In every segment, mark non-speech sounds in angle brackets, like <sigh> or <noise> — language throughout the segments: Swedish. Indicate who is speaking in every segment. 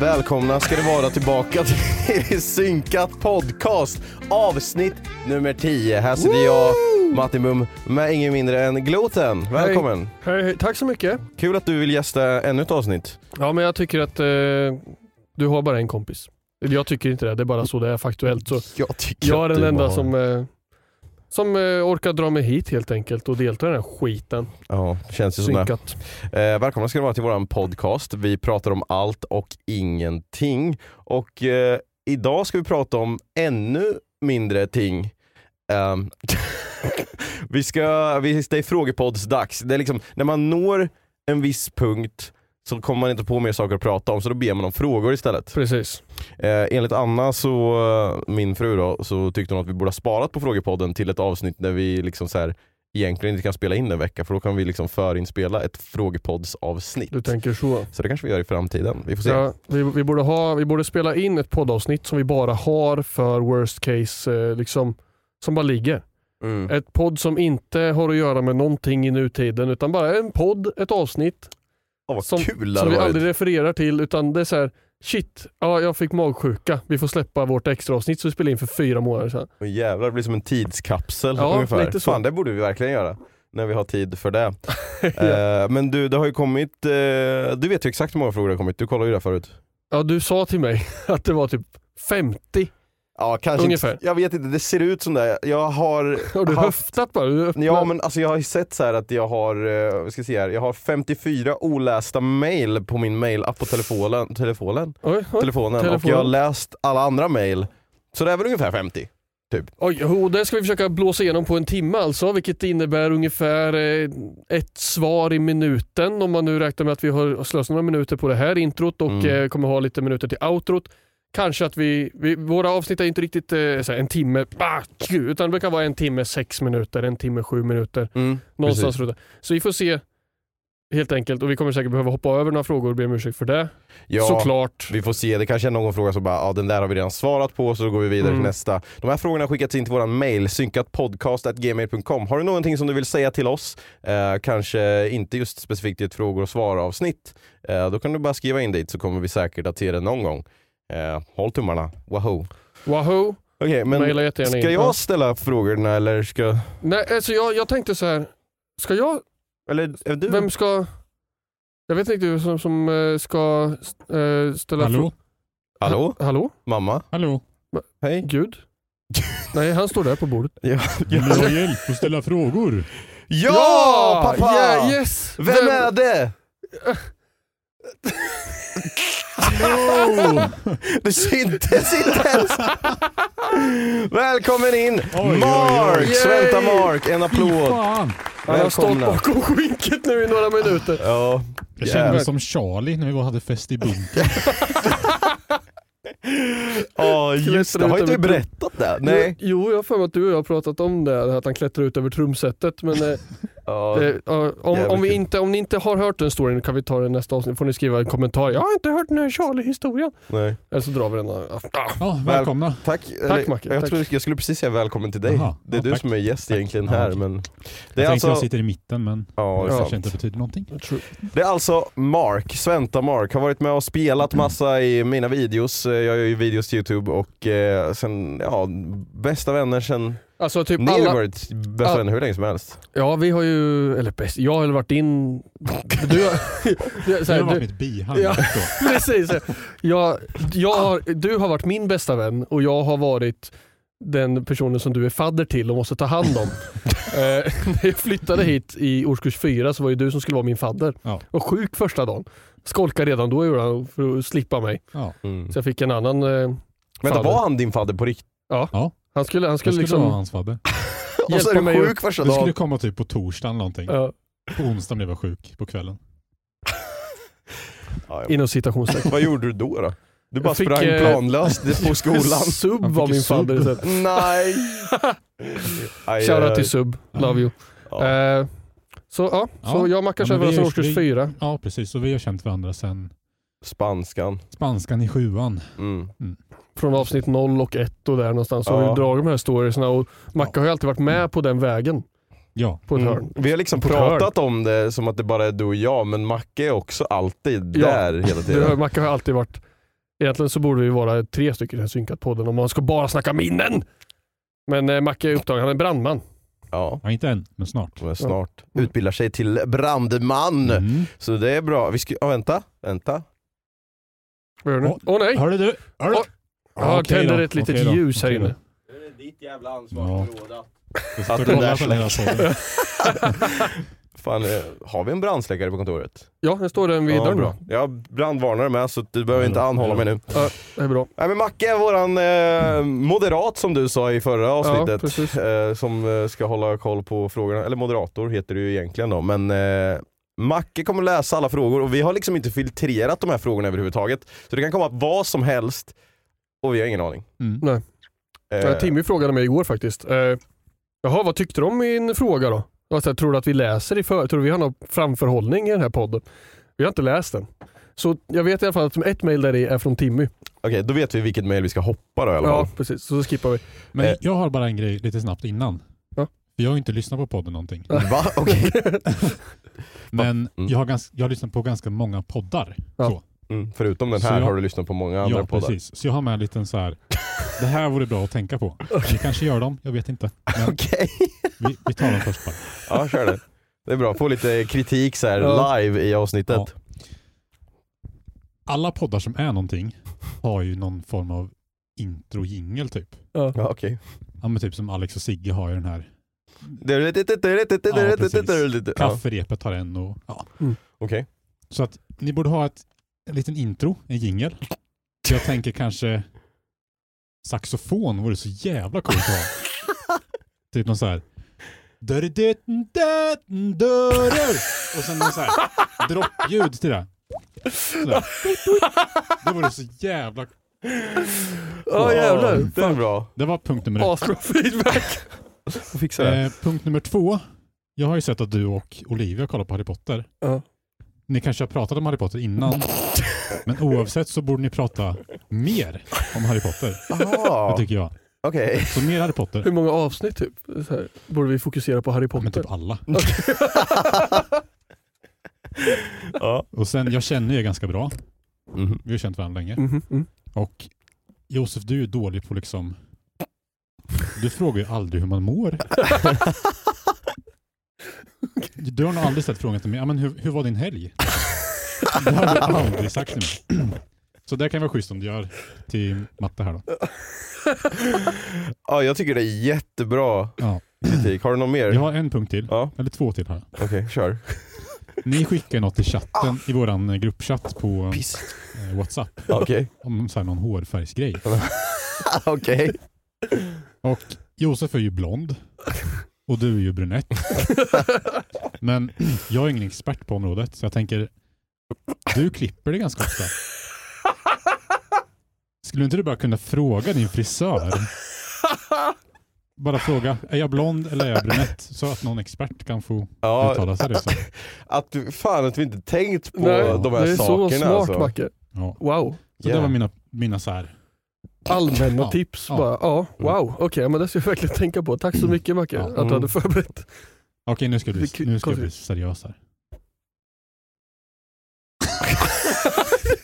Speaker 1: Välkomna ska det vara tillbaka till <laughs> Synkat podcast avsnitt nummer 10. Här sitter jag, Matti Mum, med ingen mindre än Gloten. Välkommen!
Speaker 2: Hej, hej, tack så mycket.
Speaker 1: Kul att du vill gästa ännu ett avsnitt.
Speaker 2: Ja, men jag tycker att eh, du har bara en kompis. Eller Jag tycker inte det, det är bara så det är faktuellt. Så
Speaker 1: Jag tycker
Speaker 2: jag är
Speaker 1: att
Speaker 2: den
Speaker 1: du
Speaker 2: enda
Speaker 1: har-
Speaker 2: som, eh, som eh, orkar dra mig hit helt enkelt och delta i den här skiten.
Speaker 1: Ja, det känns ju sådär.
Speaker 2: Synkat.
Speaker 1: Eh, välkomna ska det vara till våran podcast. Vi pratar om allt och ingenting. Och eh, idag ska vi prata om ännu mindre ting. Ehm, <laughs> vi ska, vi, det är frågepoddsdags. Det är liksom, när man når en viss punkt så kommer man inte på mer saker att prata om så då ber man om frågor istället.
Speaker 2: Precis.
Speaker 1: Eh, enligt Anna, så, eh, min fru, då, så tyckte hon att vi borde ha sparat på frågepodden till ett avsnitt där vi liksom så här, egentligen inte kan spela in den vecka för då kan vi liksom förinspela ett frågepoddsavsnitt.
Speaker 2: Du tänker så.
Speaker 1: Så det kanske vi gör i framtiden. Vi får se.
Speaker 2: Ja, vi, vi, borde ha, vi borde spela in ett poddavsnitt som vi bara har för worst case, eh, liksom, som bara ligger.
Speaker 1: Mm.
Speaker 2: Ett podd som inte har att göra med någonting i nutiden utan bara en podd, ett avsnitt
Speaker 1: Åh, vad
Speaker 2: som,
Speaker 1: kul det
Speaker 2: som
Speaker 1: hade
Speaker 2: vi
Speaker 1: varit.
Speaker 2: aldrig refererar till utan det är så här, shit, ja, jag fick magsjuka. Vi får släppa vårt extra avsnitt som vi spelade in för fyra månader sedan.
Speaker 1: Åh, jävlar, det blir som en tidskapsel
Speaker 2: Ja,
Speaker 1: ungefär.
Speaker 2: lite så.
Speaker 1: Fan, det borde vi verkligen göra. När vi har tid för
Speaker 2: <laughs>
Speaker 1: det. eh, men du, det har ju kommit, eh, du vet ju exakt hur många frågor det har kommit. Du kollade ju det förut.
Speaker 2: Ja, du sa till mig <laughs> att det var typ 50.
Speaker 1: Ja, kanske
Speaker 2: Ungefär.
Speaker 1: Inte, jag vet inte, det ser ut som det. Jag har
Speaker 2: Har du
Speaker 1: haft
Speaker 2: höftat bara? Du öppnar-
Speaker 1: Ja men alltså jag har ju sett så här att jag har, eh, vad ska jag, säga här, jag har 54 olästa mail på min mailapp på telefonen, telefonen,
Speaker 2: Oj, oj.
Speaker 1: telefonen, och
Speaker 2: Telefonen.
Speaker 1: jag har läst alla andra mail. Så det är väl ungefär 50.
Speaker 2: Oj, och det ska vi försöka blåsa igenom på en timme alltså, vilket innebär ungefär eh, ett svar i minuten om man nu räknar med att vi har slösat några minuter på det här introt och
Speaker 1: Mm.
Speaker 2: eh, kommer ha lite minuter till outrot. Kanske att vi, vi våra avsnitt är inte riktigt eh, såhär, en timme, bah, tju, utan det kan vara en timme sex minuter, en timme sju minuter.
Speaker 1: Mm.
Speaker 2: Någonstans runt där. Så vi får se helt enkelt och vi kommer säkert behöva hoppa över några frågor och be om ursäkt för det.
Speaker 1: Ja,
Speaker 2: Såklart.
Speaker 1: Typ. Vi får se, det kanske är någon fråga som bara, ja den där har vi redan svarat på så då går vi vidare till
Speaker 2: Mm.
Speaker 1: nästa. De här frågorna har skickats in till våran mail, synkatpodcast.gmail.com. Har du någonting som du vill säga till oss? Eh, kanske inte just specifikt i ett frågor och svar avsnitt. Eh, då kan du bara skriva in dit så kommer vi säkert att se det någon gång. Eh, håll tummarna, wahoo.
Speaker 2: Wahoo,
Speaker 1: Okej, men
Speaker 2: mejla jättegärna in.
Speaker 1: ska
Speaker 2: Ja.
Speaker 1: jag ställa frågorna eller ska...
Speaker 2: Nej, alltså jag, jag tänkte så här. ska jag
Speaker 1: Eller är du?
Speaker 2: Vem ska... Jag vet inte du som, som eh, ska eh, ställa...
Speaker 3: Hallå?
Speaker 2: frå-
Speaker 1: Hallå?
Speaker 2: Ha, hallå?
Speaker 1: Mamma?
Speaker 3: Hallå?
Speaker 1: Hej? <laughs>
Speaker 2: Gud? Nej, han står där på bordet.
Speaker 3: Vill du ha hjälp att ställa frågor?
Speaker 1: Ja, pappa!
Speaker 2: Yeah, yes!
Speaker 1: Vem är det?
Speaker 3: Oh,
Speaker 1: <laughs> Det syntes inte ens! Välkommen in!
Speaker 3: oj, oj.
Speaker 1: Mark!
Speaker 2: Yay!
Speaker 1: Vänta Mark, en applåd!
Speaker 3: fan!
Speaker 2: Han har stått
Speaker 1: Välkomna.
Speaker 2: bakom skynket nu i några minuter.
Speaker 1: Ja,
Speaker 3: Jag
Speaker 1: jävlar.
Speaker 3: kände mig som Charlie när vi var- hade fest i bunkern.
Speaker 1: Ja just det,
Speaker 2: Klättrar
Speaker 1: har
Speaker 2: ut
Speaker 1: inte vi
Speaker 2: över-
Speaker 1: berättat det? Nej.
Speaker 2: Jo, jag har för mig att du och jag har pratat om det, att han klättrar ut över trumsetet. Men, eh,
Speaker 1: <laughs> Ja.
Speaker 2: eh, ja, om,
Speaker 1: jävligt
Speaker 2: om, vi
Speaker 1: kul.
Speaker 2: inte, om ni inte har hört den storyn kan vi ta den i nästa avsnitt. får ni skriva en kommentar. Jag har inte hört den här Charlie-historien.
Speaker 1: Nej.
Speaker 2: Eller så drar vi den. Ah, ah.
Speaker 3: Ja, välkomna.
Speaker 1: Tack, eller,
Speaker 2: Macke,
Speaker 1: Jag,
Speaker 2: tack.
Speaker 1: trodde jag skulle precis säga välkommen till dig.
Speaker 3: Jaha,
Speaker 1: det är
Speaker 3: ja,
Speaker 1: du
Speaker 3: tack.
Speaker 1: som är gäst egentligen
Speaker 3: Ja,
Speaker 1: här
Speaker 3: okej.
Speaker 1: men... Det
Speaker 3: Jag
Speaker 1: är,
Speaker 3: tänkte
Speaker 1: alltså,
Speaker 3: jag sitter i mitten men
Speaker 1: ja,
Speaker 3: det
Speaker 1: det, är
Speaker 3: kanske
Speaker 1: sant.
Speaker 3: inte betyder någonting.
Speaker 2: True.
Speaker 1: det är alltså Mark, Sventa Mark, har varit med och spelat massa i mina videos. Eh, Jag gör ju videos till youtube och eh, sen, ja, bästa vänner sen...
Speaker 2: Alltså typ
Speaker 1: Ni har ju
Speaker 2: alla...
Speaker 1: varit bästa
Speaker 2: alla-
Speaker 1: vänner hur länge som helst.
Speaker 2: Ja, vi har ju... Eller bäst, jag har varit in... Du, har- du, så
Speaker 3: Det
Speaker 2: här,
Speaker 3: har varit
Speaker 2: du,
Speaker 3: mitt bihang.
Speaker 2: Ja. <laughs>
Speaker 3: då.
Speaker 2: precis. Jag, jag har, du har varit min bästa vän och jag har varit den personen som du är fadder till och måste ta hand
Speaker 3: <laughs>
Speaker 2: om. eh, när jag flyttade hit i årskurs fyra så var ju du som skulle vara min fadder.
Speaker 3: Ja.
Speaker 2: Jag var sjuk första dagen. Skolkade redan då gjorde han för att slippa mig.
Speaker 3: Ja.
Speaker 1: Mm.
Speaker 2: Så jag fick en annan... Eh,
Speaker 1: Vänta,
Speaker 2: fadder.
Speaker 1: var han din fadder på riktigt?
Speaker 2: Han skulle, han
Speaker 3: Det
Speaker 2: skulle,
Speaker 3: skulle
Speaker 2: liksom...
Speaker 3: vara hans Fabbe.
Speaker 1: Och så Alltså, är
Speaker 2: Hjälpa
Speaker 1: du
Speaker 2: mig
Speaker 1: sjuk första
Speaker 3: Du skulle
Speaker 1: dagen.
Speaker 3: komma typ på torsdagen någonting.
Speaker 2: Ja,
Speaker 3: På onsdagen blev jag sjuk på kvällen.
Speaker 1: Ja, ja.
Speaker 2: inom citationstecken.
Speaker 1: Vad gjorde du då? då? Du bara
Speaker 2: Jag fick,
Speaker 1: sprang
Speaker 2: eh, <laughs>
Speaker 1: planlöst på skolan.
Speaker 2: Sub
Speaker 3: Han
Speaker 2: var
Speaker 3: fick
Speaker 2: min
Speaker 3: ju sub.
Speaker 2: fadder. istället.
Speaker 1: Nej! Aj,
Speaker 2: Shoutout
Speaker 1: aj,
Speaker 2: till
Speaker 1: aj.
Speaker 2: Sub, love you.
Speaker 1: Ja.
Speaker 2: Eh, så ja, så
Speaker 3: Ja.
Speaker 2: jag och Mackan
Speaker 3: Ja,
Speaker 2: kör
Speaker 3: men
Speaker 2: varandra
Speaker 3: vi
Speaker 2: sedan
Speaker 3: är-
Speaker 2: årskurs
Speaker 3: vi-
Speaker 2: fyra.
Speaker 3: Ja precis, och vi har känt varandra sedan
Speaker 1: Spanskan.
Speaker 3: spanskan i sjuan.
Speaker 1: Mm.
Speaker 2: Från avsnitt 0 och 1 och där någonstans. Så
Speaker 1: Ja.
Speaker 2: har vi dragit de här storiesna och Mackan har ju alltid varit med på den vägen.
Speaker 3: Ja,
Speaker 2: På ett
Speaker 1: Mm.
Speaker 2: hörn.
Speaker 1: Vi har liksom
Speaker 2: På ett
Speaker 1: pratat om det som att det bara är du och jag, men Macke är också alltid
Speaker 2: Ja.
Speaker 1: där hela
Speaker 2: Du hör,
Speaker 1: tiden.
Speaker 2: Mackan har alltid varit... Egentligen så borde vi vara tre stycken i den här synkat podden om man ska bara snacka minnen. Men eh, Macke är upptagen, han är brandman.
Speaker 1: Ja.
Speaker 3: ja inte än, men snart.
Speaker 1: Men snart utbildar sig till brandman.
Speaker 3: Mm.
Speaker 1: Så det är bra. Vi ska, ja, vänta, vänta.
Speaker 2: Vad gör du nu? Åh nej!
Speaker 3: Hörru du! Hörru.
Speaker 2: Oj. Ja,
Speaker 3: okej
Speaker 2: tänder
Speaker 3: då,
Speaker 2: ett litet
Speaker 3: okej då,
Speaker 2: ljus här
Speaker 3: okej då.
Speaker 2: inne.
Speaker 3: ansvarsområde
Speaker 1: Att
Speaker 3: För
Speaker 1: den där
Speaker 3: kolla på den här podden.
Speaker 1: Fan, eh, har vi en brandsläckare på kontoret?
Speaker 2: Ja, nu Mm. står den vid
Speaker 1: ja,
Speaker 2: dörren.
Speaker 1: bra. Jag har brandvarnare med så du behöver inte
Speaker 3: Ja,
Speaker 1: anhålla mig
Speaker 3: ja.
Speaker 1: nu.
Speaker 2: Det är bra.
Speaker 1: Nej men Macke är våran eh, moderat som du sa i förra avsnittet.
Speaker 2: precis.
Speaker 1: eh, som eh, ska hålla koll på frågorna. Eller moderator heter det ju egentligen då. Men eh, Macke kommer läsa alla frågor och vi har liksom inte filtrerat de här frågorna överhuvudtaget. Så det kan komma vad som helst och vi har ingen aning.
Speaker 3: Mm.
Speaker 2: Eh, Timmy frågade mig igår faktiskt. Eh, Jaha, vad tyckte du om min fråga då? Jag sa, tror du att vi läser i för... Tror du vi har någon framförhållning i den här podden? Vi har inte läst den. Så jag vet i alla fall att ett mejl där i är från Timmy.
Speaker 1: Okej, då vet vi vilket mejl vi ska hoppa då i alla fall.
Speaker 2: Ja, precis. Så då skippar vi.
Speaker 1: Eh.
Speaker 3: Men jag har bara en grej lite snabbt innan.
Speaker 2: Ja.
Speaker 3: För Jag har ju inte lyssnat på podden någonting.
Speaker 1: Va? Okej.
Speaker 3: <laughs> Men
Speaker 1: Mm.
Speaker 3: jag, har gans- jag har lyssnat på ganska många poddar.
Speaker 2: Ja.
Speaker 3: Så.
Speaker 1: Mm, förutom den
Speaker 3: Så
Speaker 1: här
Speaker 3: jag-
Speaker 1: har du lyssnat på många andra
Speaker 3: Ja,
Speaker 1: poddar.
Speaker 3: precis. Så jag har med en liten så här. Det här vore bra att
Speaker 1: <laughs>
Speaker 3: tänka på. Vi kanske gör dem, jag vet inte. Men
Speaker 1: Okej. <laughs>
Speaker 3: vi, vi tar dem först bara.
Speaker 1: Ja, kör det. Det är bra, få lite kritik så här
Speaker 2: Ja.
Speaker 1: live i avsnittet.
Speaker 3: Ja. Alla poddar som är någonting har ju någon form av introjingel typ.
Speaker 2: Ja.
Speaker 1: Ja, okej.
Speaker 3: Ja men typ som Alex och Sigge har ju den här.
Speaker 1: Ja, precis. Ja,
Speaker 3: Kafferepet har en och... Ja.
Speaker 1: Okej.
Speaker 3: Så att ni borde ha ett, en liten intro, en jingel. Så jag tänker kanske saxofon vore så jävla coolt att ha. typ någon så här. Dörrdytten, dörrdytten, dörrer. Och sen någon så här droppljud till det. Sådär. Det vore så jävla...
Speaker 2: Ja, jävlar.
Speaker 1: Det är bra.
Speaker 3: Det var punkt nummer ett.
Speaker 2: Asbra
Speaker 1: <laughs>
Speaker 2: feedback.
Speaker 1: Fixa det.
Speaker 3: Eh, punkt nummer två. Jag har ju sett att du och Olivia kollar på Harry Potter.
Speaker 2: Ja.
Speaker 3: Ni kanske har pratat om Harry Potter innan. men oavsett så borde ni prata mer om Harry Potter. Det
Speaker 1: Ah,
Speaker 3: tycker jag.
Speaker 1: Okej.
Speaker 3: Så mer Harry Potter.
Speaker 2: Hur många avsnitt typ? Så här, borde vi fokusera på Harry Potter?
Speaker 3: Men typ alla.
Speaker 1: Ja.
Speaker 3: Och sen, jag känner er ganska bra.
Speaker 1: Mhm.
Speaker 3: Vi har känt varandra länge.
Speaker 2: Mhm, mm.
Speaker 3: Och Josef, du är ju dålig på liksom... Du frågar ju aldrig hur man mår. Du har nog aldrig ställt frågan till mig, ja, men hur, hur var din helg? Det har du aldrig sagt till mig. Så det kan vara schysst om du gör till matte här då.
Speaker 1: Ja, jag tycker det är jättebra
Speaker 3: Ja.
Speaker 1: kritik. Har du någon mer?
Speaker 3: Jag har en punkt till,
Speaker 1: Ja.
Speaker 3: eller två till här.
Speaker 1: Okej, kör.
Speaker 3: Ni skickar något i chatten, i våran eh, gruppchatt på eh, WhatsApp <laughs>
Speaker 1: Okej.
Speaker 3: om så här, någon hårfärgsgrej.
Speaker 1: Okej.
Speaker 3: Och Josef är ju blond och du är
Speaker 2: <laughs>
Speaker 3: ju brunett. Men jag är ingen expert på området så jag tänker, du klipper det ganska ofta. Skulle inte du bara kunna fråga din frisör? Bara fråga, är jag blond eller är jag brunett? Så att någon expert kan få
Speaker 1: Ja.
Speaker 3: uttala sig. liksom. Det, så.
Speaker 1: Att du, fan att vi inte tänkt på de här
Speaker 2: det är
Speaker 1: sakerna
Speaker 2: så smart
Speaker 1: alltså.
Speaker 2: Macke.
Speaker 3: Ja.
Speaker 2: Wow.
Speaker 3: så det
Speaker 1: Yeah.
Speaker 3: var mina, mina så här.
Speaker 2: Allmänna
Speaker 3: Ja,
Speaker 2: tips
Speaker 3: ja.
Speaker 2: bara. Ja, wow. Okej, men det ska jag verkligen tänka på. Tack så mycket Macke
Speaker 3: Ja.
Speaker 2: att
Speaker 1: Mm.
Speaker 2: du hade förberett.
Speaker 3: Okej, nu ska vi
Speaker 2: Det-
Speaker 3: nu ska vi bli seriös här.
Speaker 1: <laughs>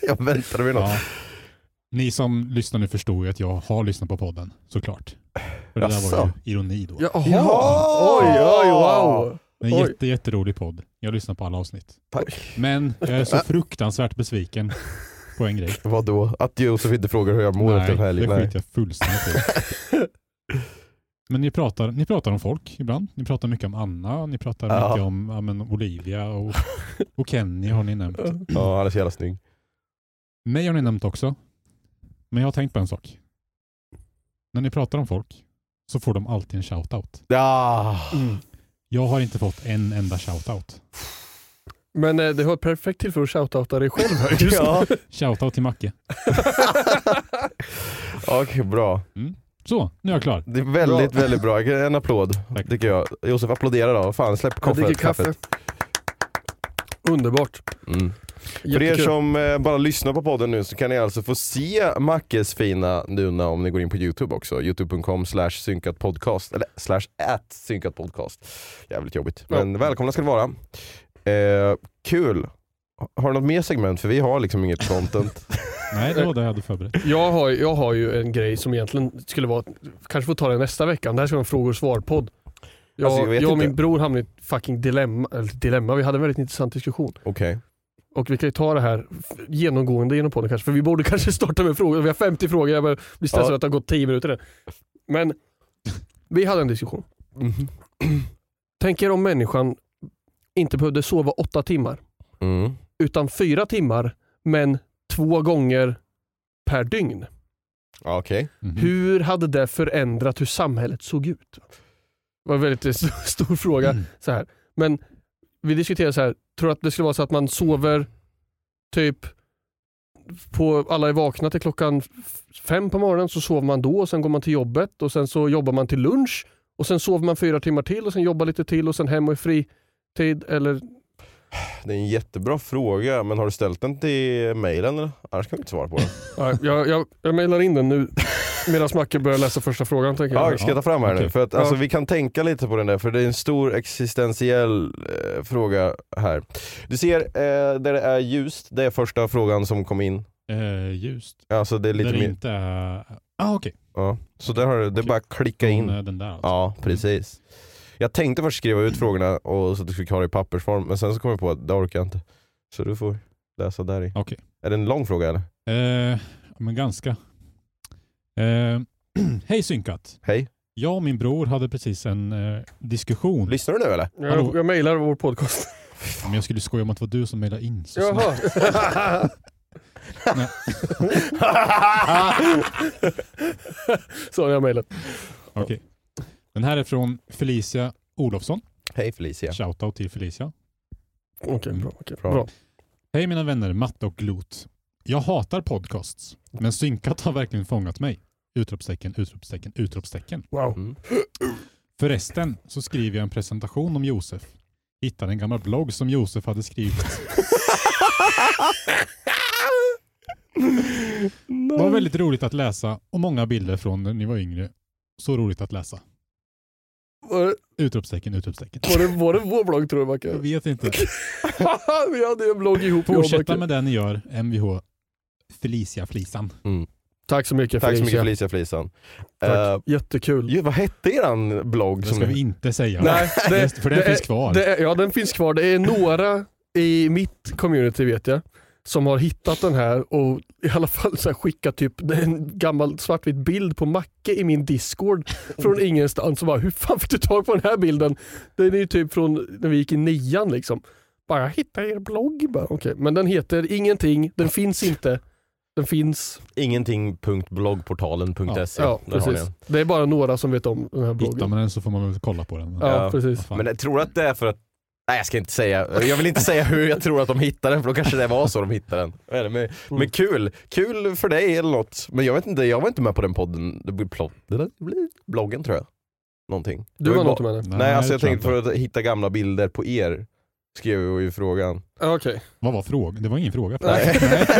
Speaker 1: Jag väntade mig något.
Speaker 3: Ja. Ni som lyssnar nu förstår ju att jag har lyssnat på podden, såklart. För det där var
Speaker 1: Jaså?
Speaker 3: ju ironi då.
Speaker 2: Jaha.
Speaker 1: Ja.
Speaker 2: Oj, oj, wow.
Speaker 3: En
Speaker 2: Oj.
Speaker 3: jätte, jätterolig podd. Jag lyssnar på alla avsnitt.
Speaker 1: Tack.
Speaker 3: Men jag är
Speaker 1: Äh.
Speaker 3: så fruktansvärt besviken på en grej.
Speaker 1: Vadå? Att Josef inte frågar hur jag mår
Speaker 3: Nej,
Speaker 1: efter en helg?
Speaker 3: det
Speaker 1: Nej.
Speaker 3: skiter jag
Speaker 1: <laughs>
Speaker 3: fullständigt i. Men ni pratar, ni pratar om folk ibland. Ni pratar mycket om Anna, ni pratar
Speaker 1: Ja.
Speaker 3: mycket om ja, men Olivia och, och Kenny har ni nämnt.
Speaker 1: Ja, han är så jävla snygg.
Speaker 3: Mig har ni nämnt också. Men jag har tänkt på en sak. När ni pratar om folk så får de alltid en shoutout.
Speaker 1: Ja.
Speaker 3: Jag har inte fått en enda shoutout.
Speaker 2: Men eh, det var ett perfekt tillfälle att shoutouta dig själv här
Speaker 1: <laughs>
Speaker 2: just
Speaker 1: Ja.
Speaker 3: Shoutout till Macke.
Speaker 1: Okej, bra.
Speaker 3: Så, nu är jag klar.
Speaker 1: Det är väldigt,
Speaker 2: Bra.
Speaker 1: väldigt bra. En applåd,
Speaker 3: Tack.
Speaker 1: tycker jag. Josef, applådera då. Fan, släpp
Speaker 2: Jag
Speaker 1: koffet.
Speaker 2: dricker kaffe. Underbart.
Speaker 1: Mm. För er
Speaker 2: Jättekul.
Speaker 1: som eh, bara lyssnar på podden nu så kan ni alltså få se Mackes fina nuna om ni går in på youtube också. youtube.com slash synkatpodcast, eller slash at synkatpodcast. Jävligt jobbigt.
Speaker 2: Ja.
Speaker 1: Men välkomna ska ni vara. Eh, kul. Har du något mer segment? För vi har liksom inget
Speaker 2: <laughs>
Speaker 1: content.
Speaker 3: Nej, det var det jag hade förberett.
Speaker 2: Jag har, jag har ju en grej som egentligen skulle vara, kanske får ta det nästa vecka. Det här ska vara en frågor och svar-podd. Jag,
Speaker 1: Alltså, jag
Speaker 2: jag,
Speaker 1: vet
Speaker 2: och min
Speaker 1: inte.
Speaker 2: bror hamnade i ett fucking dilemma, eller dilemma, vi hade en väldigt intressant diskussion.
Speaker 1: Okej.
Speaker 2: Och vi kan ju ta det här f- genomgående genom podden kanske, för vi borde <laughs> kanske starta med frågor. Vi har 50 frågor, jag börjar bli stressad
Speaker 1: Ja.
Speaker 2: att det har gått 10 minuter än. Men vi hade en diskussion.
Speaker 1: Mhm.
Speaker 2: Tänk er om människan inte behövde sova 8 timmar,
Speaker 1: Mm.
Speaker 2: utan 4 timmar, men två gånger per dygn.
Speaker 1: Ja, Okej.
Speaker 3: Mhm.
Speaker 2: Hur hade det förändrat hur samhället såg ut? Det var en väldigt <laughs> st- stor fråga.
Speaker 3: Mm.
Speaker 2: Så här. Men vi diskuterade så här, tror du att det skulle vara så att man sover typ på, alla är vakna till klockan f- fem på morgonen, så sover man då och sen går man till jobbet och sen så jobbar man till lunch och sen sover man fyra timmar till och sen jobbar lite till och sen hem och i fritid. Eller,
Speaker 1: Det är en jättebra fråga, men har du ställt den till mejlen eller? Annars kan vi inte svara på
Speaker 3: <laughs>
Speaker 1: den.
Speaker 2: ja, jag, jag, jag mejlar in den nu medan Macke börjar läsa första frågan. Tänker jag.
Speaker 1: Ja, ska jag ta fram här nu?
Speaker 3: Okej.
Speaker 1: För att, alltså,
Speaker 2: Ja.
Speaker 1: Vi kan tänka lite på den där, för det är en stor existentiell eh, fråga här. Du ser, eh, där det är ljust, det är första frågan som kom in.
Speaker 3: Eh, just.
Speaker 1: Alltså det är lite
Speaker 3: Där det
Speaker 1: mer...
Speaker 3: inte är... Ah, okej.
Speaker 1: Ja. Så där har du, det är bara att klicka
Speaker 3: Okay.
Speaker 1: in.
Speaker 3: Den där alltså.
Speaker 1: Ja, precis. Jag tänkte först skriva ut frågorna och så att du skulle ha det i pappersform, men sen så kom jag på att det orkar jag inte. Så du får läsa där i.
Speaker 3: Okej.
Speaker 1: Är det en lång fråga eller?
Speaker 3: Eh, men ganska. Eh, <clears throat> Hej Synkat.
Speaker 1: Hej.
Speaker 3: Jag och min bror hade precis en eh, diskussion.
Speaker 1: Lyssnar du nu eller?
Speaker 2: jag, jag mejlar vår podcast.
Speaker 3: Men jag skulle skoja om att det var du som mejlade in. Så snabbt.
Speaker 2: Jaha.
Speaker 3: Nej.
Speaker 2: <laughs>
Speaker 3: Ah!
Speaker 2: Så har jag mejlat.
Speaker 3: Okej. Den här är från Felicia Olofsson.
Speaker 1: Hej Felicia.
Speaker 3: Shoutout till Felicia.
Speaker 2: Okej, bra. okej,
Speaker 1: Bra.
Speaker 2: bra.
Speaker 3: Hej mina vänner Matte och Glot. Jag hatar podcasts, men Synkat har verkligen fångat mig. Utropstecken, utropstecken, utropstecken.
Speaker 2: Wow.
Speaker 1: Mm.
Speaker 3: Förresten så skriver jag en presentation om Josef. Hittade en gammal blogg som Josef hade skrivit. Det var väldigt roligt att läsa och många bilder från när ni var yngre. Så roligt att läsa.
Speaker 2: Var, det-
Speaker 3: Utropstecken, utropstecken.
Speaker 2: var, det, var det vår blogg tror du
Speaker 3: Jag
Speaker 2: Macke?
Speaker 3: vet
Speaker 2: <laughs>
Speaker 3: inte.
Speaker 2: Vi hade ju en blogg ihop. jag och
Speaker 3: Fortsätta
Speaker 2: Macke.
Speaker 3: med det ni gör, Mvh. Felicia Flisan.
Speaker 2: Tack så mycket
Speaker 1: Tack så
Speaker 2: Felicia.
Speaker 1: mycket Felicia Flisan. Eh,
Speaker 2: Tack. Jättekul.
Speaker 1: Ju, vad hette eran blogg?
Speaker 3: Det
Speaker 1: Som
Speaker 3: ska vi
Speaker 1: ni...
Speaker 3: inte säga. <laughs>
Speaker 2: Nej, det,
Speaker 3: För den
Speaker 2: det
Speaker 3: finns
Speaker 2: är-
Speaker 3: kvar.
Speaker 2: det är, ja, den finns kvar. Det är några i mitt community vet jag som har hittat den här och i alla fall så här skickat typ en gammal svartvit bild på Macke i min Discord från ingenstans. Och bara, hur fan fick du tag på den här bilden? Den är ju typ från när vi gick i nian liksom. Bara, jag hittade er blogg. Bara, okej. Men den heter ingenting, den finns inte. Den finns.
Speaker 1: Ingenting.bloggportalen.se
Speaker 2: Ja,
Speaker 1: E? Där har ni
Speaker 2: precis.
Speaker 1: den.
Speaker 2: Det är bara några som vet om den här
Speaker 3: Hittar
Speaker 2: bloggen.
Speaker 3: man den så får man väl kolla på den.
Speaker 2: Ja,
Speaker 1: Ja.
Speaker 2: precis.
Speaker 3: Fan.
Speaker 1: Men jag tror att det är för att Nej jag ska inte säga, jag vill inte säga hur jag tror att de hittade den för då kanske det var så de hittade den. Vad är det? Men,
Speaker 2: Mm.
Speaker 1: men kul, kul för dig eller något. Men jag vet inte, jag var inte med på den podden, det blir plopp, det där blir bloggen tror jag. Någonting.
Speaker 2: Du var
Speaker 1: bara-
Speaker 2: något med det?
Speaker 1: Nej, alltså jag
Speaker 3: tror
Speaker 1: tänkte för
Speaker 3: inte.
Speaker 1: att hitta gamla bilder på er, skrev jag ju frågan.
Speaker 2: Ja, Okej.
Speaker 3: Vad var frågan? Det var ingen fråga.
Speaker 2: Nej. <laughs>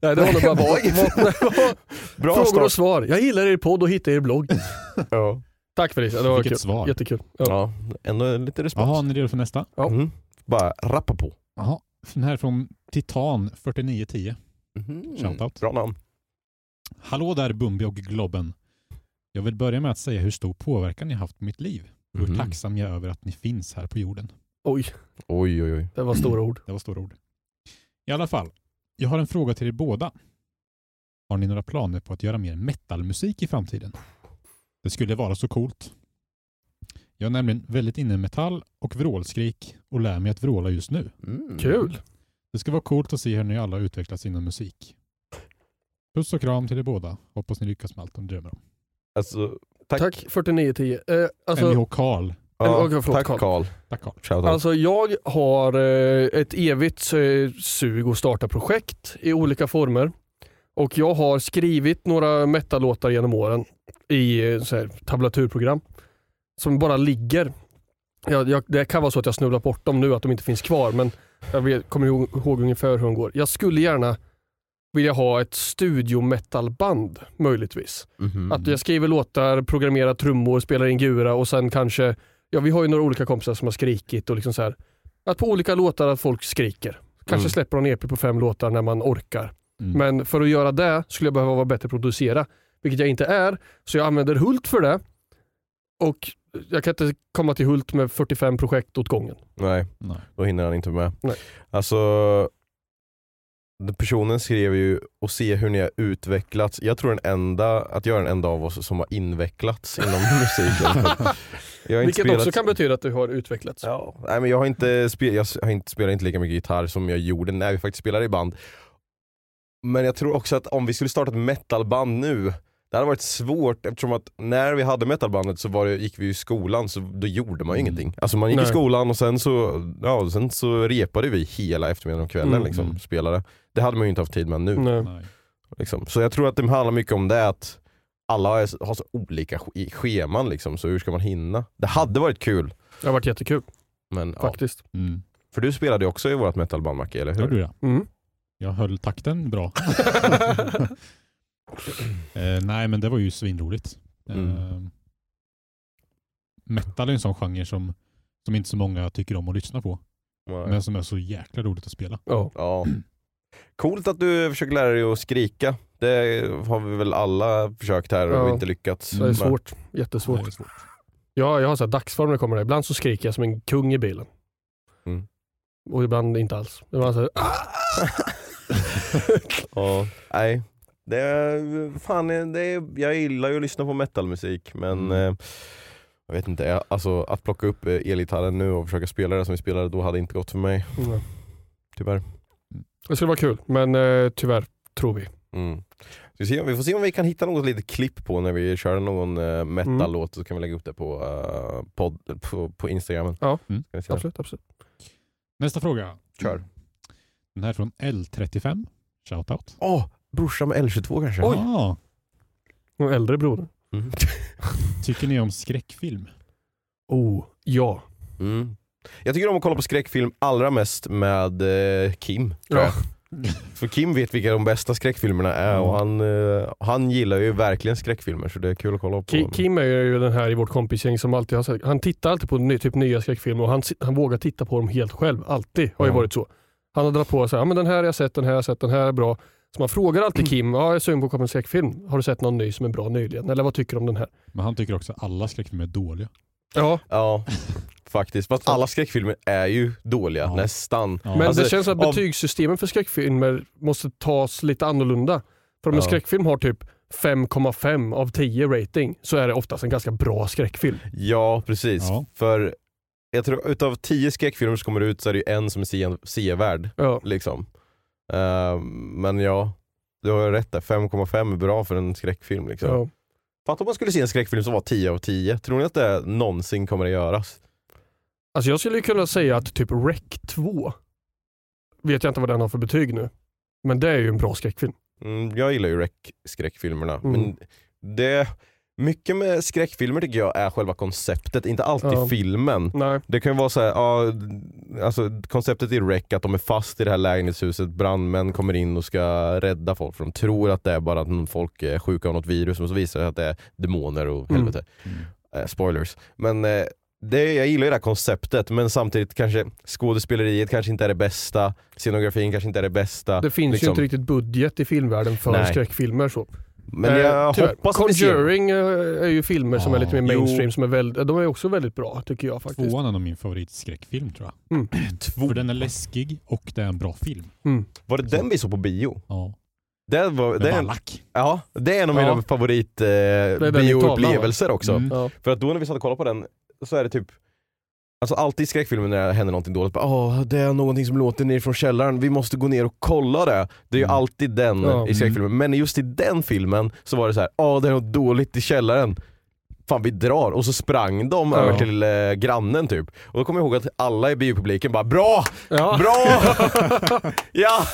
Speaker 2: Nej, det var
Speaker 1: <laughs>
Speaker 2: nog bara
Speaker 1: Det var inget.
Speaker 2: <laughs>
Speaker 1: Bra
Speaker 2: Frågor och
Speaker 1: start.
Speaker 2: svar. Jag gillar er podd och hittar er blogg.
Speaker 1: Ja.
Speaker 2: Tack Felicia, det var
Speaker 3: Vilket
Speaker 2: kul.
Speaker 3: svar.
Speaker 2: Jättekul. Ja.
Speaker 1: ja, ändå lite respons.
Speaker 3: Jaha, ni är redo för nästa?
Speaker 2: Ja.
Speaker 1: Mm. Bara rappa på.
Speaker 3: Jaha. Den här från Titan 4910.
Speaker 1: Mhm.
Speaker 3: Shoutout.
Speaker 1: Bra namn.
Speaker 3: Hallå där Bumbi och Globben. Jag vill börja med att säga hur stor påverkan ni haft på mitt liv och hur
Speaker 1: Mhm.
Speaker 3: tacksam jag är över att ni finns här på jorden.
Speaker 2: Oj,
Speaker 1: Oj oj oj.
Speaker 2: det var stora ord.
Speaker 3: Det var stora ord. I alla fall, jag har en fråga till er båda. Har ni några planer på att göra mer metalmusik i framtiden? Det skulle vara så coolt. Jag är nämligen väldigt inne i metall och vrålskrik och lär mig att vråla just nu.
Speaker 1: Mm.
Speaker 2: Kul.
Speaker 3: Det ska vara coolt att se hur ni alla utvecklas inom musik. Puss och kram till er båda. Hoppas ni lyckas med allt ni drömmer om.
Speaker 1: Alltså, tack.
Speaker 2: Tack, 4910. Eh, alltså,
Speaker 3: Mh Karl.
Speaker 1: Ja,
Speaker 2: Okej, förlåt,
Speaker 1: tack
Speaker 2: Carl.
Speaker 1: Karl.
Speaker 3: Tack Karl.
Speaker 1: Shoutout.
Speaker 2: alltså jag har eh, ett evigt eh, sug att starta projekt i olika former. Och jag har skrivit några metalåtar genom åren i eh, så här, tablaturprogram som bara ligger. Jag, jag, det kan vara så att jag snubblat bort dem nu, att de inte finns kvar, men jag vet, kommer ihåg, ihåg ungefär hur de går. Jag skulle gärna vilja ha ett studiometalband möjligtvis.
Speaker 1: Mhm.
Speaker 2: Att jag skriver låtar, programmerar trummor, spelar in gura och sen kanske, ja vi har ju några olika kompisar som har skrikit och liksom så här. Att på olika låtar att folk skriker. Kanske
Speaker 1: Mm.
Speaker 2: släpper de EP på fem låtar när man orkar.
Speaker 3: Mm.
Speaker 2: Men för att göra det skulle jag behöva vara bättre producera, vilket jag inte är. Så jag använder Hult för det. Och jag kan inte komma till Hult med 45 projekt åt gången.
Speaker 1: Nej.
Speaker 3: Nej.
Speaker 1: Då hinner han inte med.
Speaker 2: Nej.
Speaker 1: Alltså, den personen skrev ju och se hur ni har utvecklats. Jag tror den enda, att jag är den enda av oss som har invecklats
Speaker 2: <laughs>
Speaker 1: inom musiken. Jag har inte
Speaker 2: Vilket
Speaker 1: spelat,
Speaker 2: också kan betyda att du har utvecklats.
Speaker 1: Ja, nej, men jag, har inte spe, jag har inte spelat inte lika mycket gitarr som jag gjorde när vi faktiskt spelade i band. Men jag tror också att om vi skulle starta ett metalband nu, det hade varit svårt eftersom att när vi hade metalbandet så var det, gick vi ju i skolan så då gjorde man ju
Speaker 3: Mm.
Speaker 1: ingenting. Alltså man gick
Speaker 2: Nej.
Speaker 1: i skolan och sen så, ja, sen så repade vi hela eftermiddagen och kvällen
Speaker 2: Mm.
Speaker 1: liksom, spelade. Det hade man ju inte haft tid med nu.
Speaker 2: Nej.
Speaker 3: Nej.
Speaker 1: Liksom. Så jag tror att det handlar mycket om det att alla är- har så olika sch- i scheman liksom, så hur ska man hinna? Det hade varit kul.
Speaker 2: Det har varit jättekul
Speaker 1: Men, ja.
Speaker 2: faktiskt.
Speaker 3: Mm.
Speaker 1: För du spelade ju också i vårt metalband Macke, eller
Speaker 3: Hör
Speaker 1: hur?
Speaker 3: du det?
Speaker 2: Mm.
Speaker 3: Jag höll
Speaker 1: <laughs>
Speaker 3: takten bra. <laughs> eh, nej, men det var ju svinroligt. Eh,
Speaker 1: Mm.
Speaker 3: metal är en sån genre som, som inte så många tycker om att lyssna på,
Speaker 1: Nej.
Speaker 3: men som är så jäkla roligt att spela.
Speaker 2: Ja.
Speaker 1: Ja. Coolt att du försöker lära dig att skrika. Det har vi väl alla försökt här och
Speaker 2: Ja.
Speaker 1: inte lyckats.
Speaker 2: Det är
Speaker 1: med.
Speaker 2: svårt. Jättesvårt.
Speaker 3: Det är svårt.
Speaker 2: Ja, jag har så här dagsform när det kommer. Ibland så skriker jag som en kung i bilen.
Speaker 1: Mm.
Speaker 2: Och ibland inte alls. Ibland så här, "Ah!"
Speaker 1: <laughs> Ja. Nej. Det är, fan, det är, jag gillar ju att lyssna på metalmusik men
Speaker 3: Mm.
Speaker 1: eh, jag vet inte, jag, alltså, att plocka upp eh, elgitarren nu och försöka spela det som vi spelade då hade inte gått för mig.
Speaker 2: Mm.
Speaker 1: Tyvärr.
Speaker 2: Det skulle vara kul, men eh, tyvärr tror vi.
Speaker 1: Mm. Ska Vi, se, vi får se om vi kan hitta något litet klipp på när vi kör någon eh, metallåt så kan vi lägga upp det på, eh, podd, på, på instagramen.
Speaker 2: Ja.
Speaker 3: Mm.
Speaker 1: Ska vi se.
Speaker 2: Absolut, absolut.
Speaker 3: Nästa fråga.
Speaker 1: Kör.
Speaker 3: Den här är från L35. Shoutout.
Speaker 1: Åh, brorsan med L22 kanske?
Speaker 3: Ah,
Speaker 2: Någon äldre broder?
Speaker 1: Mm.
Speaker 3: tycker ni
Speaker 1: <laughs>
Speaker 3: om skräckfilm?
Speaker 2: Oh, ja.
Speaker 1: Mm. Jag tycker om att kolla på skräckfilm allra mest med eh, Kim. Tror
Speaker 2: Ja.
Speaker 1: jag. För Kim vet vilka de bästa skräckfilmerna är och
Speaker 2: Mm.
Speaker 1: han, eh, han gillar ju verkligen skräckfilmer så det är kul att kolla på.
Speaker 2: Ki- Kim är ju den här i vårt kompisgäng som alltid har sett. Han tittar alltid på ny, typ nya skräckfilmer och han, si- han vågar titta på dem helt själv. Alltid har ju
Speaker 1: Ja.
Speaker 2: varit så. Han har dragit på sig, ja men den här har jag sett, den här har jag sett, den här är bra. Så man
Speaker 1: <clears throat>
Speaker 2: frågar alltid Kim, ja, jag är sugen på att kolla på en skräckfilm. Har du sett någon ny som är bra nyligen? Eller vad tycker du om den här?
Speaker 3: Men han tycker också att alla skräckfilmer är dåliga.
Speaker 2: Ja,
Speaker 1: Ja, faktiskt. Fast alla skräckfilmer är ju dåliga,
Speaker 3: Ja.
Speaker 1: nästan.
Speaker 3: Ja.
Speaker 2: Men
Speaker 1: Alltså,
Speaker 2: det känns att
Speaker 1: av-
Speaker 2: betygssystemen för skräckfilmer måste tas lite annorlunda. För om en
Speaker 1: Ja.
Speaker 2: skräckfilm har typ 5,5 av 10 rating så är det oftast en ganska bra skräckfilm.
Speaker 1: Ja, precis.
Speaker 3: Ja.
Speaker 1: För jag tror utav tio skräckfilmer som kommer ut så är det ju en som är se- sevärd.
Speaker 2: Ja.
Speaker 1: Liksom. Eh, men ja, du har ju rätt där. 5,5 är bra för en skräckfilm. Liksom.
Speaker 2: Ja.
Speaker 1: Fatta om man skulle se en skräckfilm som var 10 av 10. Tror ni att det någonsin kommer att göras?
Speaker 2: Alltså jag skulle ju kunna säga att typ Rec 2, vet jag inte vad den har för betyg nu, men det är ju en bra skräckfilm.
Speaker 1: Mm, jag gillar ju rec- skräckfilmerna.
Speaker 2: Mm.
Speaker 1: Men det, mycket med skräckfilmer tycker jag är själva konceptet, inte alltid
Speaker 2: Ja.
Speaker 1: filmen.
Speaker 2: Nej,
Speaker 1: Det kan ju vara så här, ja, alltså konceptet i REC att de är fast i det här lägenhetshuset, brandmän kommer in och ska rädda folk för de tror att det är bara att någon folk är sjuka av något virus men så visar det sig att det är demoner
Speaker 2: Mm.
Speaker 1: och helvete. Eh, spoilers. Men eh, det, jag gillar ju det här konceptet men samtidigt kanske skådespeleriet kanske inte är det bästa, scenografin kanske inte är det bästa.
Speaker 2: det finns ju
Speaker 1: liksom.
Speaker 2: inte riktigt budget i filmvärlden för
Speaker 1: Nej.
Speaker 2: skräckfilmer. Så.
Speaker 1: Men
Speaker 2: Eh,
Speaker 1: jag
Speaker 2: tyvärr.
Speaker 1: hoppas att vi ser den.
Speaker 2: Conjuring eh, är ju filmer som är
Speaker 3: Ja.
Speaker 2: lite mer
Speaker 1: Jo.
Speaker 2: mainstream, som är väldigt, de är också väldigt bra tycker jag faktiskt.
Speaker 3: Tvåan är nog min favoritskräckfilm tror jag.
Speaker 1: Mm. <clears throat> Två.
Speaker 3: För den är läskig och det är en bra film.
Speaker 2: Mm.
Speaker 1: Var det den vi såg på bio?
Speaker 3: Ja.
Speaker 1: Det, var, det,
Speaker 3: Den
Speaker 1: är,
Speaker 3: var
Speaker 1: en,
Speaker 3: lack.
Speaker 1: ja, det är en av
Speaker 2: Ja.
Speaker 1: mina favorit eh,
Speaker 2: den vi
Speaker 1: bioupplevelser också.
Speaker 3: Mm.
Speaker 2: Ja.
Speaker 1: För att då när vi satt och kollade på den så är det typ Alltså alltid i skräckfilmer när det händer någonting dåligt, bara, Åh, det är någonting som låter ner från källaren, vi måste gå ner och kolla det. Det är ju
Speaker 3: Mm.
Speaker 1: alltid den
Speaker 2: Ja.
Speaker 1: i skräckfilmer. Men just i den filmen så var det så här, åh det är något dåligt i källaren. Fan vi drar. Och så sprang de
Speaker 2: Ja.
Speaker 1: över till eh, grannen typ. Och då kommer jag ihåg att alla i biopubliken bara bra,
Speaker 2: Ja. <laughs>
Speaker 1: bra! ja!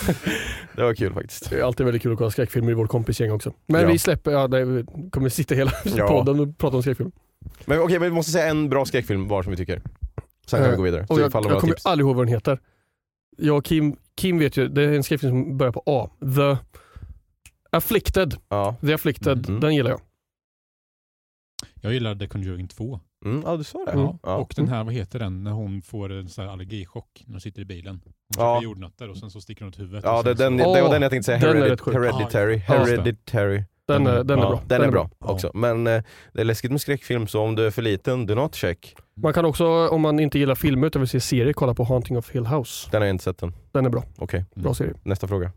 Speaker 1: Det var kul faktiskt.
Speaker 2: Det är alltid väldigt kul att kolla skräckfilmer i vårt kompisgäng också. Men
Speaker 1: Ja.
Speaker 2: vi släpper, ja, nej, vi kommer sitta hela
Speaker 1: Ja.
Speaker 2: podden och prata om skräckfilm.
Speaker 1: Men okej, men vi måste säga en bra skräckfilm var som vi tycker. Sen kan
Speaker 2: Eh,
Speaker 1: vi gå vidare.
Speaker 2: Och
Speaker 1: Så
Speaker 2: jag,
Speaker 1: ifall det
Speaker 2: jag
Speaker 1: var
Speaker 2: kommer
Speaker 1: tips.
Speaker 2: aldrig ihåg vad den heter. Jag och Kim, Kim vet ju, det är en skrift som börjar på A. The Afflicted.
Speaker 1: Ja.
Speaker 2: The Afflicted,
Speaker 1: Mhm.
Speaker 2: den gillar jag.
Speaker 3: Jag gillade Conjuring 2.
Speaker 1: Mm, ja, du sa det.
Speaker 3: Ja.
Speaker 1: Ja.
Speaker 3: Och
Speaker 2: Mm.
Speaker 3: den här, vad heter den, när hon får en sån här allergichock när hon sitter i bilen. Hon
Speaker 1: Ja.
Speaker 3: ja. jordnötter och sen så sticker hon ut huvudet.
Speaker 1: Ja,
Speaker 3: och
Speaker 1: det,
Speaker 3: sen
Speaker 1: den,
Speaker 3: så,
Speaker 1: det var
Speaker 2: Åh,
Speaker 1: den jag tänkte säga.
Speaker 2: den är
Speaker 1: Heredit-
Speaker 2: rätt sjuk.
Speaker 1: hereditary.
Speaker 3: Ja, just det.
Speaker 1: hereditary.
Speaker 2: Den,
Speaker 3: Den-
Speaker 2: är,
Speaker 1: Mhm.
Speaker 2: den
Speaker 1: ja,
Speaker 2: är bra.
Speaker 1: Den, är bra också. Men eh, det är läskigt med skräckfilm, så om du är för liten, do not check.
Speaker 2: Man kan också, om man inte gillar filmer utan vill se serier, kolla på Haunting of Hill House.
Speaker 1: Den har jag inte sett än.
Speaker 2: Den är bra.
Speaker 1: Okej,
Speaker 2: Bra serie.
Speaker 1: nästa fråga.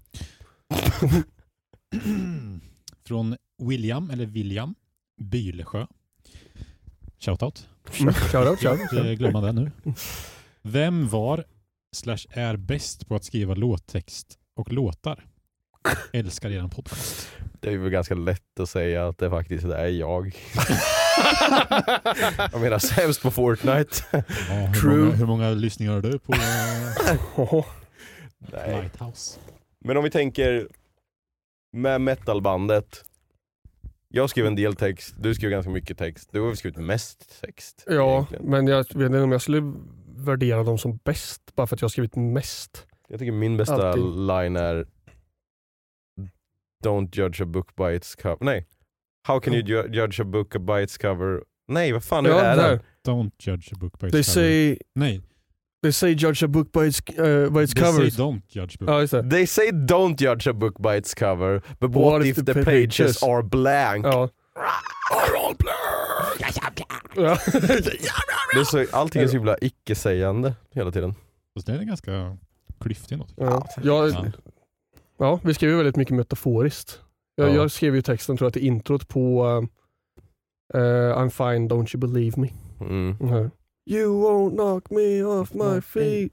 Speaker 3: <clears throat> Från William, eller William, Bylesjö. Shoutout.
Speaker 1: Mm.
Speaker 2: Shoutout, shoutout.
Speaker 3: Inte glömma det nu. Vem var, slash är bäst på att skriva låttext och låtar? Älskar eran podcast.
Speaker 1: Det är väl ganska lätt att säga att det faktiskt är <laughs> jag. jag menar sämst på Fortnite.
Speaker 3: Ja, hur,
Speaker 2: True.
Speaker 3: Många, hur många lyssningar har du på
Speaker 2: <laughs>
Speaker 3: eh,
Speaker 2: Oho.
Speaker 1: Nej.
Speaker 3: Lighthouse?
Speaker 1: Men om vi tänker med metalbandet. Jag skrev en del text, du skrev ganska mycket text. Du har väl skrivit mest text?
Speaker 2: Ja,
Speaker 1: egentligen.
Speaker 2: men jag vet inte om jag skulle värdera dem som bäst bara för att jag har skrivit mest.
Speaker 1: Jag tycker min bästa
Speaker 2: Alltid.
Speaker 1: line är Don't judge a book by its cover. Nej. How can you ju- judge a book by its cover? Nej, vad fan
Speaker 2: Ja,
Speaker 1: hur är
Speaker 2: där.
Speaker 1: den?
Speaker 3: Don't judge a book by its
Speaker 2: They
Speaker 3: cover.
Speaker 2: say,
Speaker 3: Nej,
Speaker 2: they say judge a book by its, eh, by its
Speaker 3: they say
Speaker 2: covers.
Speaker 3: don't judge book.
Speaker 2: Ja, just det.
Speaker 1: They say don't judge a book by its cover, but what, if, the pages, are blank? <laughs>
Speaker 2: Ja.
Speaker 1: Are all blank?
Speaker 2: Ja.
Speaker 1: Det är så, allting är så himla icke-sägande hela tiden.
Speaker 3: Fast den Alltså, är ganska klyftig något.
Speaker 2: Ja. Jag,
Speaker 3: Ja.
Speaker 2: ja, vi skrev ju väldigt mycket metaforiskt. Jag,
Speaker 1: Ja.
Speaker 2: jag skrev ju texten, tror jag, till introt på eh, eh, I'm fine, don't you believe me.
Speaker 1: Mm.
Speaker 2: Den här. You won't knock me off my feet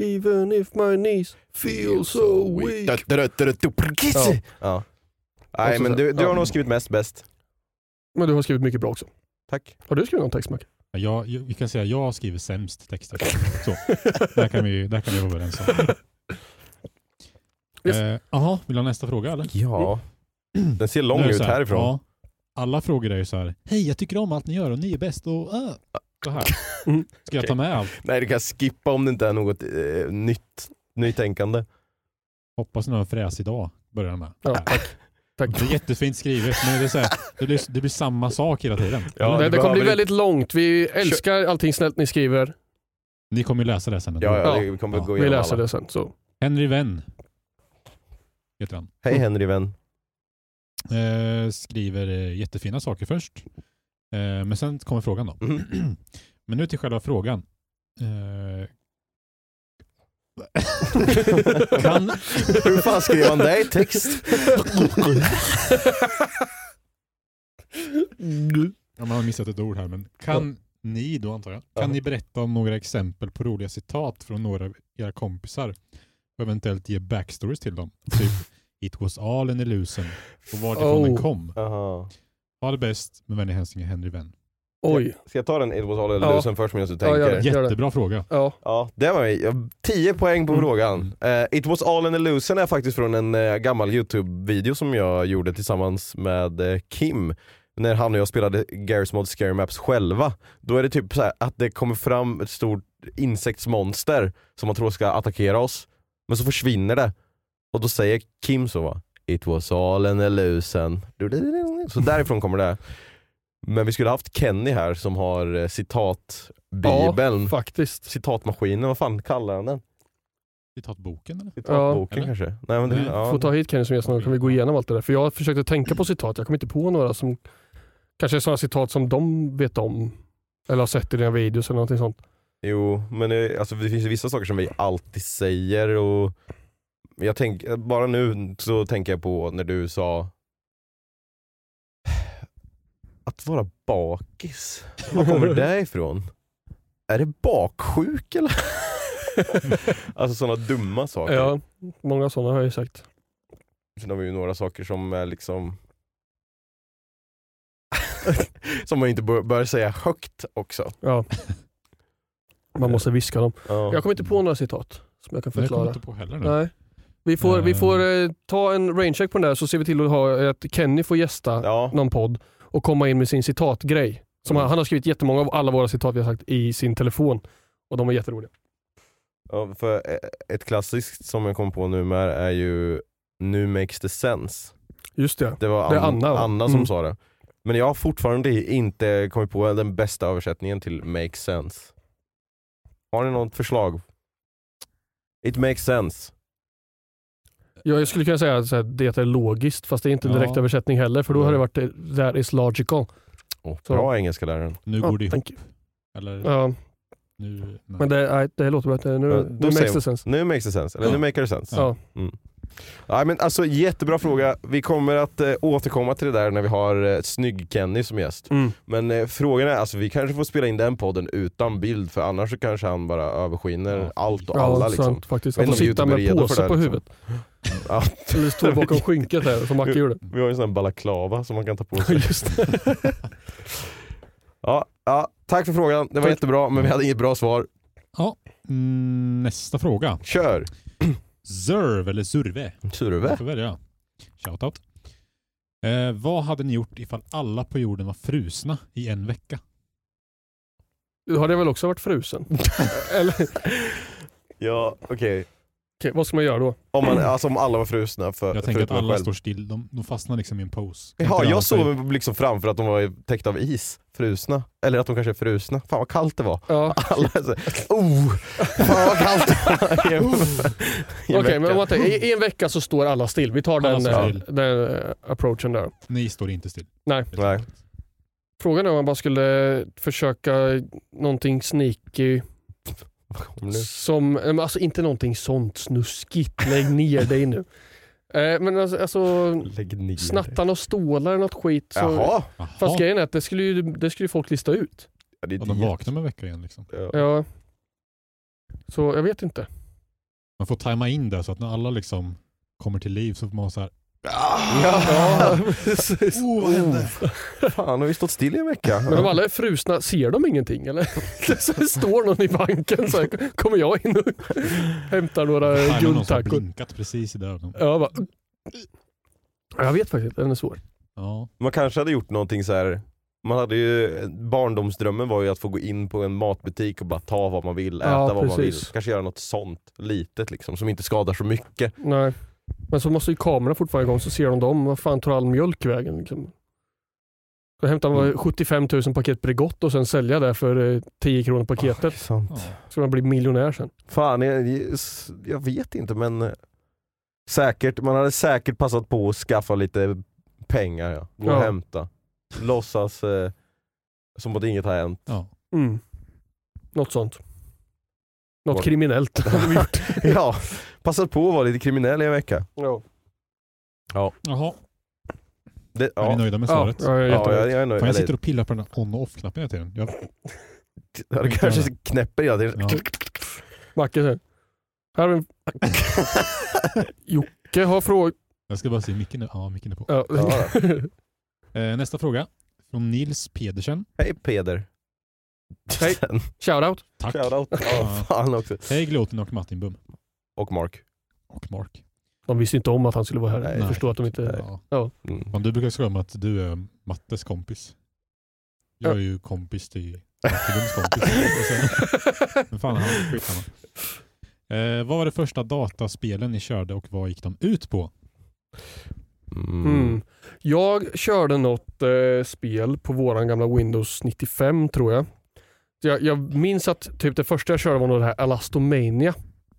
Speaker 2: even if my knees feel so weak.
Speaker 1: Ja.
Speaker 2: Ja.
Speaker 1: Ja. Nej
Speaker 2: så
Speaker 1: men
Speaker 2: så-
Speaker 1: du, du har
Speaker 2: ja.
Speaker 1: nog skrivit mest bäst.
Speaker 2: Men du har skrivit mycket bra också.
Speaker 1: Tack.
Speaker 2: Har du skrivit någon text, Mac?
Speaker 3: Ja, Jag, jag, vi kan säga att jag skriver sämst texter. Så, där kan vi, där kan vi vara överens om.
Speaker 2: <laughs> Yes.
Speaker 3: Eh, Jaha, vill du ha nästa fråga eller?
Speaker 1: Ja. Den ser lång
Speaker 3: Nu är det
Speaker 1: ut
Speaker 3: så här,
Speaker 1: härifrån.
Speaker 3: Ja, alla frågor är ju så här. Hej, jag tycker om allt ni gör och ni är bäst och uh, så här.
Speaker 2: Mm.
Speaker 3: Ska jag ta med allt?
Speaker 1: Nej du kan skippa om det inte är något eh, nytt, nytänkande.
Speaker 3: Hoppas ni har en fräs idag. Börjar de med.
Speaker 2: Ja, tack. tack.
Speaker 3: Det är jättefint skrivet, men det, är så här, det, blir, det blir samma sak hela tiden.
Speaker 1: Ja,
Speaker 2: det,
Speaker 1: du
Speaker 2: det kommer bli
Speaker 1: behöver
Speaker 2: väldigt långt. Vi älskar allting snällt ni skriver.
Speaker 3: Ni kommer ju läsa det sen. ändå.
Speaker 1: Ja, ja,
Speaker 2: Ja.
Speaker 1: det- vi kommer
Speaker 3: Ja.
Speaker 1: gå
Speaker 2: Vi
Speaker 1: igenom
Speaker 2: läser
Speaker 1: alla.
Speaker 2: det sen. Så.
Speaker 3: Henry Wenn heter han.
Speaker 1: Hej Henry vän.
Speaker 3: Eh, skriver eh, jättefina saker först. Eh, men sen kommer frågan då.
Speaker 1: Mhm.
Speaker 3: <clears throat> men nu till själva frågan. Eh, <laughs> kan,
Speaker 1: Hur fan skrev han det i text?
Speaker 2: <laughs>
Speaker 3: om man har missat ett ord här, men kan ni då antar jag, kan
Speaker 1: Ja.
Speaker 3: ni berätta om några exempel på roliga citat från några av era kompisar och eventuellt ge backstories till dem? Typ It was all an illusion och varifrån den
Speaker 2: Oh.
Speaker 3: kom.
Speaker 1: Jaha.
Speaker 3: Ha det bäst, med vänliga hälsningar Henry Wenn.
Speaker 2: Oj.
Speaker 1: Ska jag ta den It was all a
Speaker 2: Ja.
Speaker 1: illusion först medan du
Speaker 2: Ja,
Speaker 1: tänker?
Speaker 2: gör det.
Speaker 3: Jättebra fråga.
Speaker 2: Ja.
Speaker 1: Ja, det var jag. 10 poäng på
Speaker 3: Mm.
Speaker 1: frågan. Eh, It was all an illusion är faktiskt från en eh, gammal YouTube-video som jag gjorde tillsammans med eh, Kim. När han och jag spelade Garry's Mod Scary Maps själva. Då är det typ så här att det kommer fram ett stort insektsmonster som man tror ska attackera oss. Men så försvinner det. Och då säger Kim så va. It was all an illusion. Så därifrån kommer det. Men vi skulle haft Kenny här som har eh, citatbibeln
Speaker 2: Ja, faktiskt.
Speaker 1: citatmaskinen, vad fan kallar han den?
Speaker 3: Citatboken eller?
Speaker 1: Citatboken
Speaker 3: Ja.
Speaker 1: kanske? Nej, men det,
Speaker 3: Mm.
Speaker 1: ja.
Speaker 2: Får ta hit Kenny som gäst någon gång, kan vi gå igenom allt det där. För jag försökte tänka på citat, jag kom inte på några som kanske är sådana citat som de vet om. Eller har sett i dina videos eller någonting sånt.
Speaker 1: Jo, men det, alltså, det finns ju vissa saker som vi alltid säger och jag tänk, bara nu så tänker jag på när du sa att vara bakis. Var kommer
Speaker 3: <laughs>
Speaker 1: det ifrån? Är det baksjuk eller? alltså sådana dumma saker.
Speaker 2: Ja, många sådana har jag ju sagt.
Speaker 1: Sen har vi ju några saker som är liksom <laughs> som man inte bör, bör säga högt också.
Speaker 2: Ja. Man måste viska dem.
Speaker 1: Ja.
Speaker 2: Jag kommer inte på några citat som jag kan
Speaker 3: Nej, Jag kommer
Speaker 2: förklara.
Speaker 3: inte på heller nu.
Speaker 2: Nej. Vi får, vi
Speaker 3: Eh.
Speaker 2: får eh, ta en raincheck på den där så ser vi till att, ha, att Kenny får gästa
Speaker 1: Ja.
Speaker 2: någon podd och komma in med sin citatgrej. Som
Speaker 1: Mm.
Speaker 2: han, han har skrivit jättemånga av alla våra citat vi har sagt i sin telefon. Och de är jätteroliga.
Speaker 1: Ja, för eh, ett klassiskt som jag kom på nu med är ju Nu makes the sense.
Speaker 2: Just det.
Speaker 1: Det var Ann-
Speaker 2: Det är Anna, va?
Speaker 1: som
Speaker 2: Mm.
Speaker 1: sa det. Men jag har fortfarande inte kommit på den bästa översättningen till make sense. Har ni något förslag? It makes sense.
Speaker 2: Ja, jag skulle kunna säga att så här, det är logiskt, fast det är inte en
Speaker 3: Ja.
Speaker 2: direkt översättning heller, för då har det varit eh, that is logical.
Speaker 1: Oh,
Speaker 2: Så.
Speaker 1: bra engelskaläraren.
Speaker 3: Nu
Speaker 2: Ja,
Speaker 3: går det ihop.
Speaker 2: thank you.
Speaker 3: Eller
Speaker 2: Ja,
Speaker 3: nu... Nej.
Speaker 2: men det, nej, det låter bättre. Nu,
Speaker 1: Ja, då
Speaker 2: nu makes
Speaker 1: säger-
Speaker 2: det sense.
Speaker 1: Nu makes the sense, eller
Speaker 3: Ja.
Speaker 1: nu maker the sense. Mm.
Speaker 2: Ja.
Speaker 1: Nej, men alltså, jättebra fråga. Vi kommer att eh, återkomma till det där när vi har eh, Snygg-Kenny som gäst.
Speaker 2: Mm.
Speaker 1: Men eh, frågan är, alltså, vi kanske får spela in den podden utan bild för annars så kanske han bara överskiner
Speaker 3: Ja.
Speaker 1: allt och
Speaker 2: Ja,
Speaker 1: alla.
Speaker 2: sant
Speaker 1: Liksom.
Speaker 2: faktiskt.
Speaker 1: Jag
Speaker 2: Att
Speaker 1: vet
Speaker 2: få
Speaker 1: inte om
Speaker 2: sitta
Speaker 1: YouTube är
Speaker 2: med
Speaker 1: redo för det
Speaker 2: påse
Speaker 1: här,
Speaker 2: på
Speaker 1: liksom.
Speaker 2: huvudet.
Speaker 1: Ja, <laughs>
Speaker 2: Eller stå bakom skynket här, som Macke gjorde.
Speaker 1: vi har ju en sån här balaklava som man kan ta på sig.
Speaker 2: Just det.
Speaker 1: <laughs> Ja, ja, tack för frågan, det var
Speaker 2: Tack.
Speaker 1: jättebra men vi hade inget bra svar.
Speaker 3: Mm, Nästa fråga.
Speaker 1: Kör!
Speaker 3: Zerv eller Surve? Du
Speaker 1: Surve.
Speaker 3: får välja. Shoutout. Eh, vad hade ni gjort ifall alla på jorden var frusna i en vecka?
Speaker 2: Då har det väl också varit frusen? <laughs> Eller, okej,
Speaker 1: Ja, okej.
Speaker 2: vad ska man göra då?
Speaker 1: Om, man- alltså, om alla var frusna för,
Speaker 3: Mm. Jag tänker att
Speaker 1: förutom jag
Speaker 3: alla
Speaker 1: själv.
Speaker 3: står still. De, de fastnar liksom i en pose. Kan
Speaker 1: Jaha,
Speaker 3: inte alla
Speaker 1: jag
Speaker 3: stå i-
Speaker 1: såg liksom framför att de var täckta av is, frusna. Eller att de kanske är frusna. Fan vad kallt det var. <laughs>
Speaker 2: Ja.
Speaker 1: Alla är så, oh, fan vad kallt
Speaker 3: <laughs>
Speaker 1: det var. I en-
Speaker 3: Oh.
Speaker 1: i en
Speaker 2: Okej, men
Speaker 1: vecka.
Speaker 2: om man tänker, i, i en vecka så står alla still. Vi tar
Speaker 3: Alla
Speaker 2: den,
Speaker 3: står
Speaker 2: eh,
Speaker 3: still.
Speaker 2: den eh, approachen där.
Speaker 3: Ni står inte still.
Speaker 2: Nej.
Speaker 1: Nej.
Speaker 2: Frågan är om man bara skulle försöka någonting sneaky
Speaker 1: Kom nu.
Speaker 2: Som, eh, men alltså inte någonting sånt snuskigt, lägg ner
Speaker 1: <laughs>
Speaker 2: dig nu. Eh, men alltså, alltså
Speaker 1: Lägg ner det.
Speaker 2: snattan och stålar eller något skit. Så,
Speaker 1: Jaha,
Speaker 3: Jaha.
Speaker 2: Fast grejen är att det skulle, ju, det skulle ju folk lista ut.
Speaker 1: Ja, det är
Speaker 3: Ja, de vaknar om en vecka igen liksom.
Speaker 1: Ja.
Speaker 2: Ja. Så jag vet inte.
Speaker 3: Man får tajma in det så att när alla liksom kommer till liv så får man vara så här. <laughs> "Ah!"
Speaker 1: Ja, precis.
Speaker 3: Oh, vad hände?
Speaker 1: Fan, har vi stått still i en vecka?
Speaker 2: Men om alla är frusna, ser de ingenting eller? <laughs> Så står någon i banken så här, kommer jag in och hämtar några
Speaker 3: Här är någon som har
Speaker 2: guldtackor.
Speaker 3: blinkat precis i dörren.
Speaker 2: Ja, jag bara, Ja, jag vet faktiskt inte, den är svår.
Speaker 3: Ja.
Speaker 1: Man kanske hade gjort någonting så här. Man hade ju, barndomsdrömmen var ju att få gå in på en matbutik och bara ta vad man vill, äta
Speaker 2: Ja,
Speaker 1: vad man vill.
Speaker 2: precis.
Speaker 1: Kanske göra något sånt litet liksom, som inte skadar så mycket.
Speaker 2: Nej. Men så måste ju kameran fortfarande igång så ser de dem. Vad fan tar all mjölk vägen? Liksom. Så hämtar man
Speaker 1: Mm.
Speaker 2: 75 000 paket Bregott och sen sälja det för eh, 10 kronor
Speaker 1: Ja,
Speaker 2: paketet.
Speaker 1: det är sant.
Speaker 3: ja.
Speaker 2: Så man blir miljonär sen.
Speaker 1: Fan, jag, jag vet inte men eh, säkert, man hade säkert passat på att skaffa lite pengar. Ja. Gå och
Speaker 2: Ja.
Speaker 1: hämta. Låtsas eh, som att inget har
Speaker 3: <laughs>
Speaker 1: hänt.
Speaker 3: ja.
Speaker 2: Mm. Något sånt. Något
Speaker 1: Var-
Speaker 2: kriminellt. hade vi <laughs> gjort.
Speaker 1: ja, passat på att vara lite kriminell i en vecka.
Speaker 2: ja.
Speaker 3: Jaha,
Speaker 1: Det,
Speaker 3: är ni
Speaker 1: ja.
Speaker 3: nöjda med
Speaker 2: Ja,
Speaker 3: svaret?
Speaker 2: jag är
Speaker 1: Ja,
Speaker 2: jättenöjd.
Speaker 1: jag, jag är nöjd.
Speaker 3: Fan, jag
Speaker 1: Eller-
Speaker 3: sitter och pillar på den där on och off-knappen hela tiden. Jag,
Speaker 1: Det kanske knäpper hela tiden.
Speaker 3: Ja.
Speaker 2: Macke sen. Här har vi en... Jocke har frågat...
Speaker 3: jag ska bara se micken nu. Ja, micken är på.
Speaker 2: Ja.
Speaker 1: Ja.
Speaker 3: Eh, nästa fråga. Från Nils Pedersen.
Speaker 1: <laughs> Hej Peder.
Speaker 2: Hej.
Speaker 1: Sen,
Speaker 2: <laughs> Shoutout.
Speaker 3: Tack.
Speaker 1: Shoutout. Ja, fan också.
Speaker 3: Hej Gloten och Martin Bum.
Speaker 1: Och Mark.
Speaker 3: Och Mark.
Speaker 2: De visste inte om att han skulle vara här.
Speaker 1: Nej.
Speaker 2: jag förstår att de inte...
Speaker 3: Ja.
Speaker 2: Ja.
Speaker 1: Mm.
Speaker 3: Fan, du brukar skoja om att du är Mattes kompis. Jag är ju kompis till Martin Bums kompis.
Speaker 1: <laughs>
Speaker 3: Och sen- Men fan, han skitsamma. Eh, vad var det första dataspelen ni körde och vad gick de ut på?
Speaker 2: Mm. Jag körde något eh, spel på våran gamla Windows 95 tror jag. Så jag. Jag minns att typ det första jag körde var nog det här Elastomania.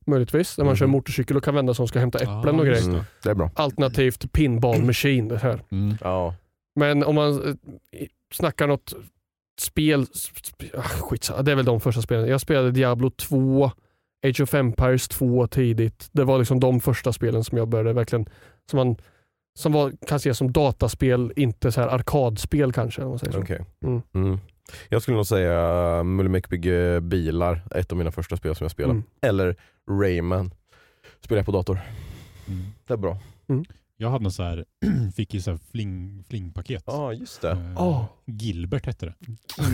Speaker 2: Möjligtvis. Där man
Speaker 1: Mhm.
Speaker 2: kör motorcykel och kan vända sig om ska hämta äpplen
Speaker 3: Ah,
Speaker 2: och grejer.
Speaker 3: just
Speaker 1: Mm. Det är bra.
Speaker 2: Alternativt pinball machine. Det här.
Speaker 3: Mm.
Speaker 1: Ja.
Speaker 2: Men om man eh, snackar något spel, sp- ah, skitsamma, det är väl de första spelen. Jag spelade Diablo 2, Age of Empires 2 tidigt. Det var liksom de första spelen som jag började verkligen, som man som var, kan ses som dataspel, inte så här arkadspel kanske. Om man säger så.
Speaker 1: Okej.
Speaker 2: Mm.
Speaker 1: Mm. Jag skulle nog säga Mulle Meck bygger bilar, ett av mina första spel som jag spelade.
Speaker 2: Mm.
Speaker 1: Eller Rayman. Spelar jag på dator.
Speaker 3: Mm.
Speaker 1: Det är bra.
Speaker 3: Jag hade något så här, <clears throat> fick ju så här fling, flingpaket.
Speaker 1: Ja, just det.
Speaker 3: Eh,
Speaker 2: Åh.
Speaker 3: Gilbert hette det.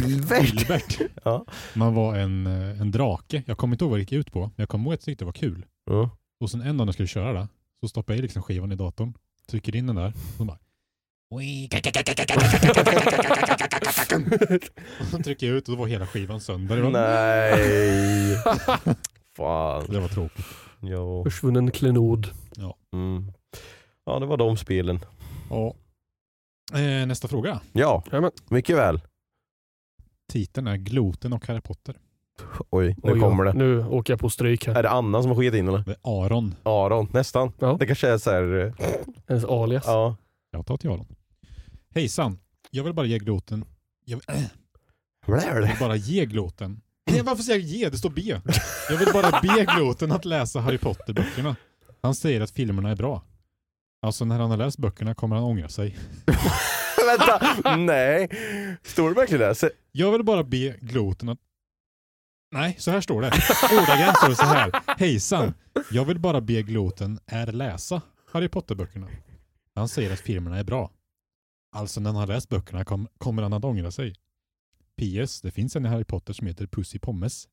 Speaker 1: Gilbert!
Speaker 3: Gilbert.
Speaker 1: Ja.
Speaker 3: Man var en, eh, en drake. Jag kommer inte ihåg vad det gick ut på, men jag kommer ihåg att jag tyckte det var kul.
Speaker 1: Ja.
Speaker 3: Och sen en dag när jag skulle köra det, så stoppade jag i liksom skivan i datorn, trycker in den där och så bara... <laughs> och så trycker jag ut och då var hela skivan sönder. Det var,
Speaker 1: Nej!
Speaker 3: <laughs>
Speaker 1: Fan.
Speaker 3: Det var tråkigt.
Speaker 1: Jo.
Speaker 2: Försvunnen klenod.
Speaker 1: Mm. Ja, det var de spelen.
Speaker 3: Ja. Eh, nästa fråga.
Speaker 1: Ja,
Speaker 2: Jajamän.
Speaker 1: mycket väl.
Speaker 3: Titeln är Gloten och Harry Potter.
Speaker 1: Oj, nu
Speaker 2: Oj,
Speaker 1: kommer
Speaker 2: ja.
Speaker 1: det.
Speaker 2: Nu åker jag på stryk här.
Speaker 1: Är det Anna som har skickat in eller?
Speaker 3: Det är Aron.
Speaker 1: Aron, nästan.
Speaker 2: Ja.
Speaker 1: Det kanske är så här, eh,
Speaker 2: Ens alias.
Speaker 1: ja.
Speaker 3: Jag tar till Aron. Hejsan. Jag vill bara ge Gloten... Jag vill, <clears throat>
Speaker 1: Vad är
Speaker 3: jag
Speaker 1: det? <laughs>
Speaker 3: vill bara ge Gloten... Nej, varför säger jag ge? Det står B. Jag vill bara be Gloten att läsa Harry Potter-böckerna. Han säger att filmerna är bra. Alltså när han har läst böckerna kommer han ångra sig.
Speaker 1: Vänta, nej. Står det verkligen där? Se-
Speaker 3: Jag vill bara be Gloten att... Nej, så här står det. Ordagrant står det så här. Hejsan. Jag vill bara be Gloten är läsa Harry Potter-böckerna. Han säger att filmerna är bra. Alltså när han har läst böckerna kom, kommer han att ångra sig. PS. Det finns en i Harry Potter som heter Pussy Pommes.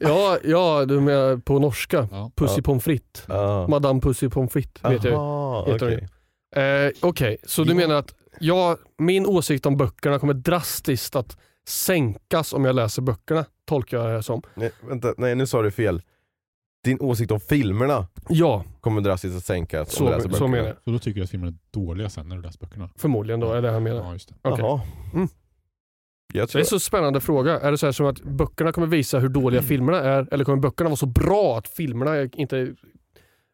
Speaker 2: Ja, ja, du menar på norska.
Speaker 3: Ja.
Speaker 2: Pussy
Speaker 1: Ja.
Speaker 2: pommes frites.
Speaker 1: Ja.
Speaker 2: Madame Pussy pommes frites vet jag ju.
Speaker 1: Aha,
Speaker 2: Heter
Speaker 1: okej.
Speaker 2: det. Eh, Okej, så du
Speaker 3: Ja.
Speaker 2: menar att jag, min åsikt om böckerna kommer drastiskt att sänkas om jag läser böckerna, tolkar jag det här som.
Speaker 1: Nej, vänta, nej nu sa du fel. Din åsikt om filmerna
Speaker 2: Ja,
Speaker 1: kommer drastiskt att sänkas om du
Speaker 2: så,
Speaker 1: läser
Speaker 2: så
Speaker 1: böckerna.
Speaker 2: menar jag.
Speaker 3: Så då tycker du att filmerna är dåliga sen när du läst böckerna?
Speaker 2: Förmodligen då, är det han menar.
Speaker 3: Ja, just det.
Speaker 2: Okej.
Speaker 1: Jaha.
Speaker 2: Mm.
Speaker 1: Jag
Speaker 2: Det
Speaker 1: tror
Speaker 2: är så spännande fråga. Är det så här som att böckerna kommer visa hur dåliga
Speaker 3: Mm.
Speaker 2: filmerna är, eller kommer böckerna vara så bra att filmerna inte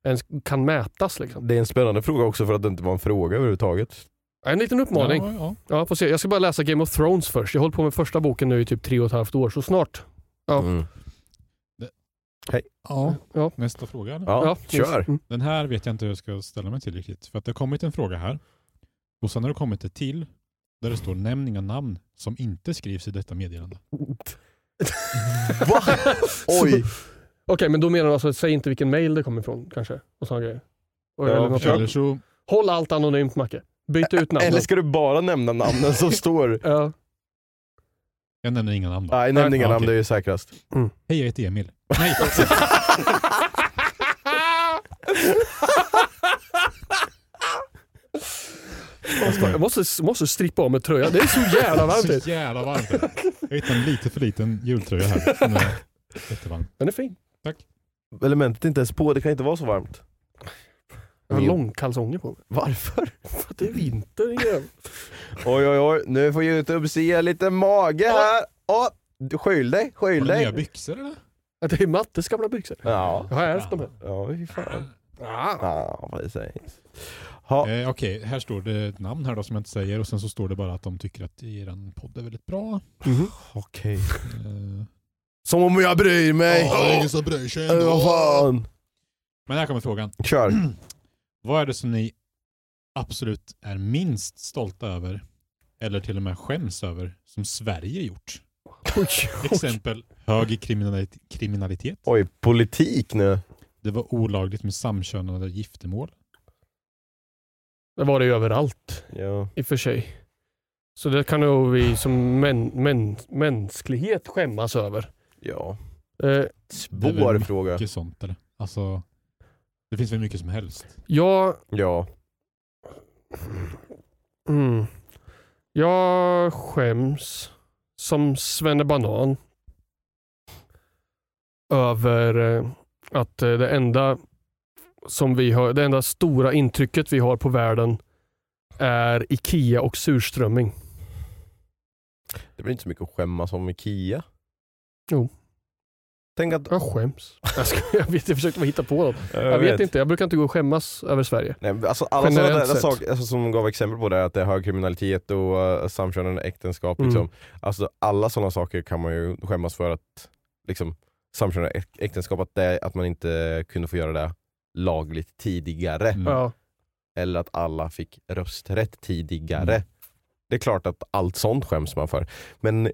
Speaker 2: ens kan mätas? Liksom?
Speaker 1: det är en spännande fråga också för att det inte var en fråga överhuvudtaget.
Speaker 2: En liten uppmaning.
Speaker 3: Ja, ja.
Speaker 2: Ja, får se. Jag ska bara läsa Game of Thrones först. Jag håller på med första boken nu i typ tre och ett halvt år, så snart. Ja.
Speaker 1: Mm.
Speaker 3: ja.
Speaker 2: Ja.
Speaker 3: Nästa fråga. eller?
Speaker 1: Ja,
Speaker 2: just-
Speaker 1: kör.
Speaker 2: Mm.
Speaker 3: Den här vet jag inte hur jag ska ställa mig till riktigt. För att det har kommit en fråga här. Och sen har det kommit ett till där det står nämn inga namn som inte skrivs i detta meddelande.
Speaker 1: Va? Oj.
Speaker 2: Okej, men då menar du alltså, säg inte vilken mail det kommer ifrån kanske? Och såna grejer. Och,
Speaker 1: Ja,
Speaker 2: eller något
Speaker 1: kör.
Speaker 3: Eller
Speaker 2: annat.
Speaker 3: så,
Speaker 2: Håll allt anonymt Macke. Byt ut namnen.
Speaker 1: Eller ska du bara nämna namnen som står?
Speaker 2: Ja.
Speaker 3: jag nämner inga namn då.
Speaker 1: Nej, nämn inga
Speaker 3: Ja,
Speaker 1: namn,
Speaker 3: okej.
Speaker 1: det är ju säkrast.
Speaker 3: Hej, jag heter Emil. Nej, jag skojar.
Speaker 2: Jag måste, måste strippa av mig tröjan. Det är så jävla varmt
Speaker 3: Så
Speaker 2: ute.
Speaker 3: jävla varmt är det. Jag hittade en lite för liten jultröja här. som är Jättevarm.
Speaker 2: Den är fin.
Speaker 1: Elementet är inte ens på, det kan inte vara så varmt.
Speaker 2: Jag har
Speaker 1: Min-
Speaker 2: långkalsonger på mig.
Speaker 1: Varför?
Speaker 2: För att det är vinter. din jävel.
Speaker 1: Oj oj oj, nu får Youtube se lite mage här. Åh, du skyll dig,
Speaker 3: Har
Speaker 1: skyll
Speaker 3: du nya
Speaker 1: dig.
Speaker 3: byxor eller?
Speaker 2: Att det är Mattes gamla byxor.
Speaker 1: Ja,
Speaker 2: Jag har ärvt dem här.
Speaker 1: ja fy fan.
Speaker 2: Ah.
Speaker 1: Ja, precis. Ha,
Speaker 3: Eh, Okej, här står det ett namn här då som jag inte säger och sen så står det bara att de tycker att er podd är väldigt bra.
Speaker 1: okej.
Speaker 3: Eh,
Speaker 1: Som om jag bryr mig!
Speaker 3: ja, det är ingen som bryr sig
Speaker 1: Äh, vad fan!
Speaker 3: Men här kommer frågan.
Speaker 1: Kör!
Speaker 3: Vad är det som ni absolut är minst stolta över eller till och med skäms över som Sverige gjort?
Speaker 2: Oj, oj.
Speaker 3: Exempel hög kriminalit- kriminalitet.
Speaker 1: Oj, politik nu.
Speaker 3: Det var olagligt med samkönade giftermål.
Speaker 2: Det var det ju överallt
Speaker 1: Ja.
Speaker 2: i och för sig. Så det kan nog vi som män, män, mänsklighet skämmas över.
Speaker 1: Ja.
Speaker 2: Eh,
Speaker 3: Det är
Speaker 1: Svår
Speaker 3: väl
Speaker 1: fråga.
Speaker 3: mycket sånt eller? Alltså, det finns väl mycket som helst.
Speaker 2: jag
Speaker 1: Ja.
Speaker 2: Mm. Jag skäms som banan över eh, att eh, det enda som vi har, det enda stora intrycket vi har på världen är Ikea och surströmming.
Speaker 1: Det blir inte så mycket att skämmas om i Kia.
Speaker 2: Jo.
Speaker 1: Tänk att...
Speaker 2: Jag skäms. <laughs> Jag, ska, jag, vet, jag försökte bara hitta på något. Jag vet inte, jag brukar inte gå och skämmas över Sverige.
Speaker 1: Nej, men alltså alla
Speaker 2: Generellt
Speaker 1: sådana där
Speaker 2: sett.
Speaker 1: saker alltså, som gav exempel på det, här, att det är hög kriminalitet och uh, samkönade äktenskap.
Speaker 2: Mm.
Speaker 1: Liksom. Alltså, alla sådana saker kan man ju skämmas för att liksom, samkönade äk- äktenskap, att, det, att man inte kunde få göra det lagligt tidigare.
Speaker 3: Mm.
Speaker 2: Ja.
Speaker 1: Eller att alla fick rösträtt tidigare.
Speaker 3: Mm.
Speaker 1: Det är klart att allt sånt skäms man för. Men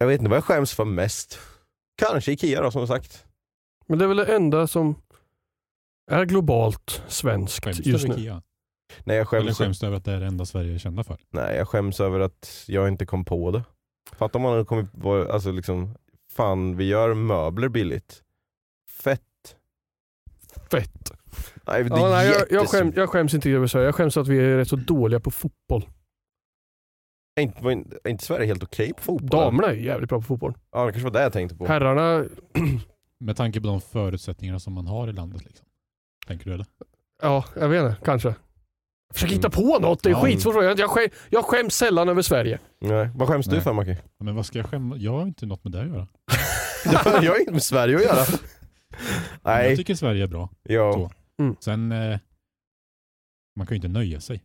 Speaker 1: jag vet inte vad jag skäms för mest. Kanske Ikea då, som sagt.
Speaker 2: Men det är väl det enda som är globalt
Speaker 3: Skäms
Speaker 2: svenskt
Speaker 3: du
Speaker 2: just
Speaker 3: över
Speaker 2: nu.
Speaker 3: Kia?
Speaker 1: Nej, jag
Speaker 3: Eller
Speaker 1: skäms,
Speaker 3: skäms du över att det är det enda Sverige är kända för?
Speaker 1: Nej, jag skäms över att jag inte kom på det. Fattar om man hade kommit på, alltså liksom, fan vi gör möbler billigt. Fett.
Speaker 2: Fett.
Speaker 1: Nej, det är
Speaker 2: Ja, nej, jag, jag,
Speaker 1: jättes-
Speaker 2: skäms, jag skäms inte över Sverige. Jag skäms att vi är rätt så dåliga på fotboll.
Speaker 1: Är inte, var inte- är inte Sverige helt okej på fotboll?
Speaker 2: Damerna är ju jävligt bra på fotboll.
Speaker 1: Ja, det kanske var det jag tänkte på.
Speaker 2: Herrarna,
Speaker 3: Med tanke på de förutsättningar som man har i landet liksom. Tänker du eller?
Speaker 2: ja jag vet inte, kanske. Försök hitta på något, det är
Speaker 3: Ja.
Speaker 2: skitsvårt. Jag, jag, skäm, jag skäms sällan över Sverige.
Speaker 1: Nej, vad skäms du
Speaker 3: Nej.
Speaker 1: för
Speaker 2: <laughs>
Speaker 1: Macke?
Speaker 3: Ja, Men vad ska jag skämma? Jag har inte något med det att göra.
Speaker 1: jag, jag har inte med Sverige att göra.
Speaker 2: <laughs>
Speaker 3: Jag
Speaker 1: Nej,
Speaker 3: tycker Sverige är bra.
Speaker 1: ja,
Speaker 3: Så. Sen, eh, man kan ju inte nöja sig.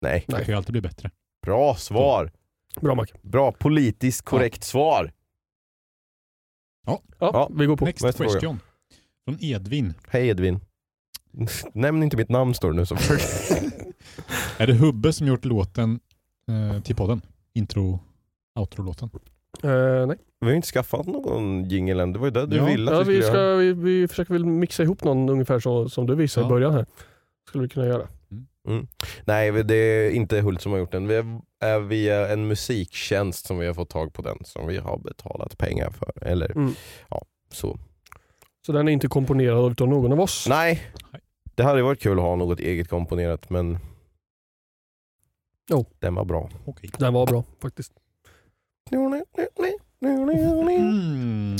Speaker 1: nej.
Speaker 3: Det
Speaker 2: Nej.
Speaker 3: kan ju alltid bli bättre.
Speaker 1: Bra svar.
Speaker 2: Bra Mac.
Speaker 1: Bra politiskt korrekt svar.
Speaker 2: Ja,
Speaker 1: Ja,
Speaker 2: vi går på.
Speaker 3: Next
Speaker 1: nästa fråga.
Speaker 3: question. Från Edvin.
Speaker 1: Hej Edvin. Nämn inte mitt namn står det <laughs> nu som
Speaker 3: Är det Hubbe som gjort låten eh, till podden? Intro, outro-låten.
Speaker 2: Eh, nej.
Speaker 1: Vi har ju inte skaffat någon jingel än, det var ju det du
Speaker 3: Ja.
Speaker 1: ville att
Speaker 2: Ja,
Speaker 1: vi
Speaker 2: vi,
Speaker 1: skulle göra.
Speaker 2: ska, vi, vi försöker väl mixa ihop någon ungefär så, som du visade i
Speaker 3: Ja.
Speaker 2: början här. Skulle vi kunna göra.
Speaker 1: Nej, det är inte Hult som har gjort den. Vi är via en musiktjänst som vi har fått tag på den som vi har betalat pengar för. Eller
Speaker 2: Mm.
Speaker 1: ja, så.
Speaker 2: Så den är inte komponerad utav någon av oss.
Speaker 1: Nej, det hade varit kul att ha något eget komponerat men
Speaker 2: Jo.
Speaker 1: den var bra.
Speaker 3: Okej.
Speaker 2: Den var bra faktiskt.
Speaker 3: Mm,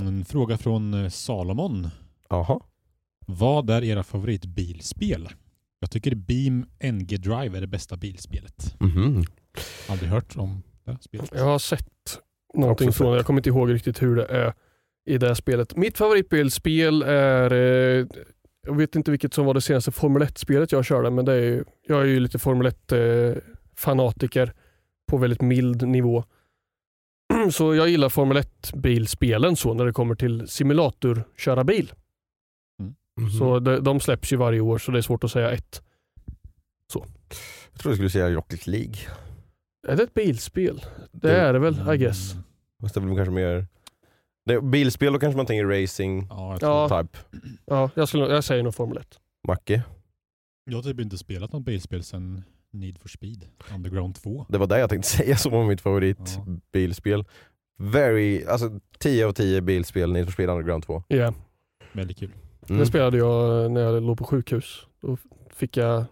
Speaker 3: en fråga från eh, Salomon.
Speaker 1: Jaha.
Speaker 3: Vad är era favoritbilspel? Jag tycker Beam NG Drive är det bästa bilspelet.
Speaker 1: Mhm.
Speaker 3: Aldrig hört om det här spelet.
Speaker 2: Jag har sett någonting
Speaker 1: Också
Speaker 2: från
Speaker 1: sett.
Speaker 2: Jag kommer inte ihåg riktigt hur det är i det här spelet. Mitt favoritbilspel är, eh, jag vet inte vilket som var det senaste Formel 1-spelet jag körde, men det är ju, jag är ju lite Formel 1-fanatiker på väldigt mild nivå. <clears throat> Så jag gillar Formel 1-bilspelen så när det kommer till simulator köra bil.
Speaker 1: Mm.
Speaker 2: Så de, de släpps ju varje år så det är svårt att säga ett.
Speaker 1: Jag trodde du skulle säga Rocket League.
Speaker 2: Är det ett bilspel? Det är det väl, I guess.
Speaker 3: Mm,
Speaker 1: Fast det blir kanske mer... Det, bilspel, då kanske man tänker racing
Speaker 3: Ja, jag, tror,
Speaker 2: Ja.
Speaker 1: type.
Speaker 2: Ja, jag, skulle, jag säger nog Formel 1.
Speaker 1: Macke.
Speaker 3: jag har typ inte spelat något bilspel sedan Need for Speed Underground 2.
Speaker 1: Det var det jag tänkte <laughs> säga som var mitt favoritbilspel. Very, alltså 10 av 10 bilspel, Need for Speed Underground 2.
Speaker 2: Yeah.
Speaker 3: Väldigt kul.
Speaker 1: Mm.
Speaker 2: Det spelade jag när jag låg på sjukhus. Då fick jag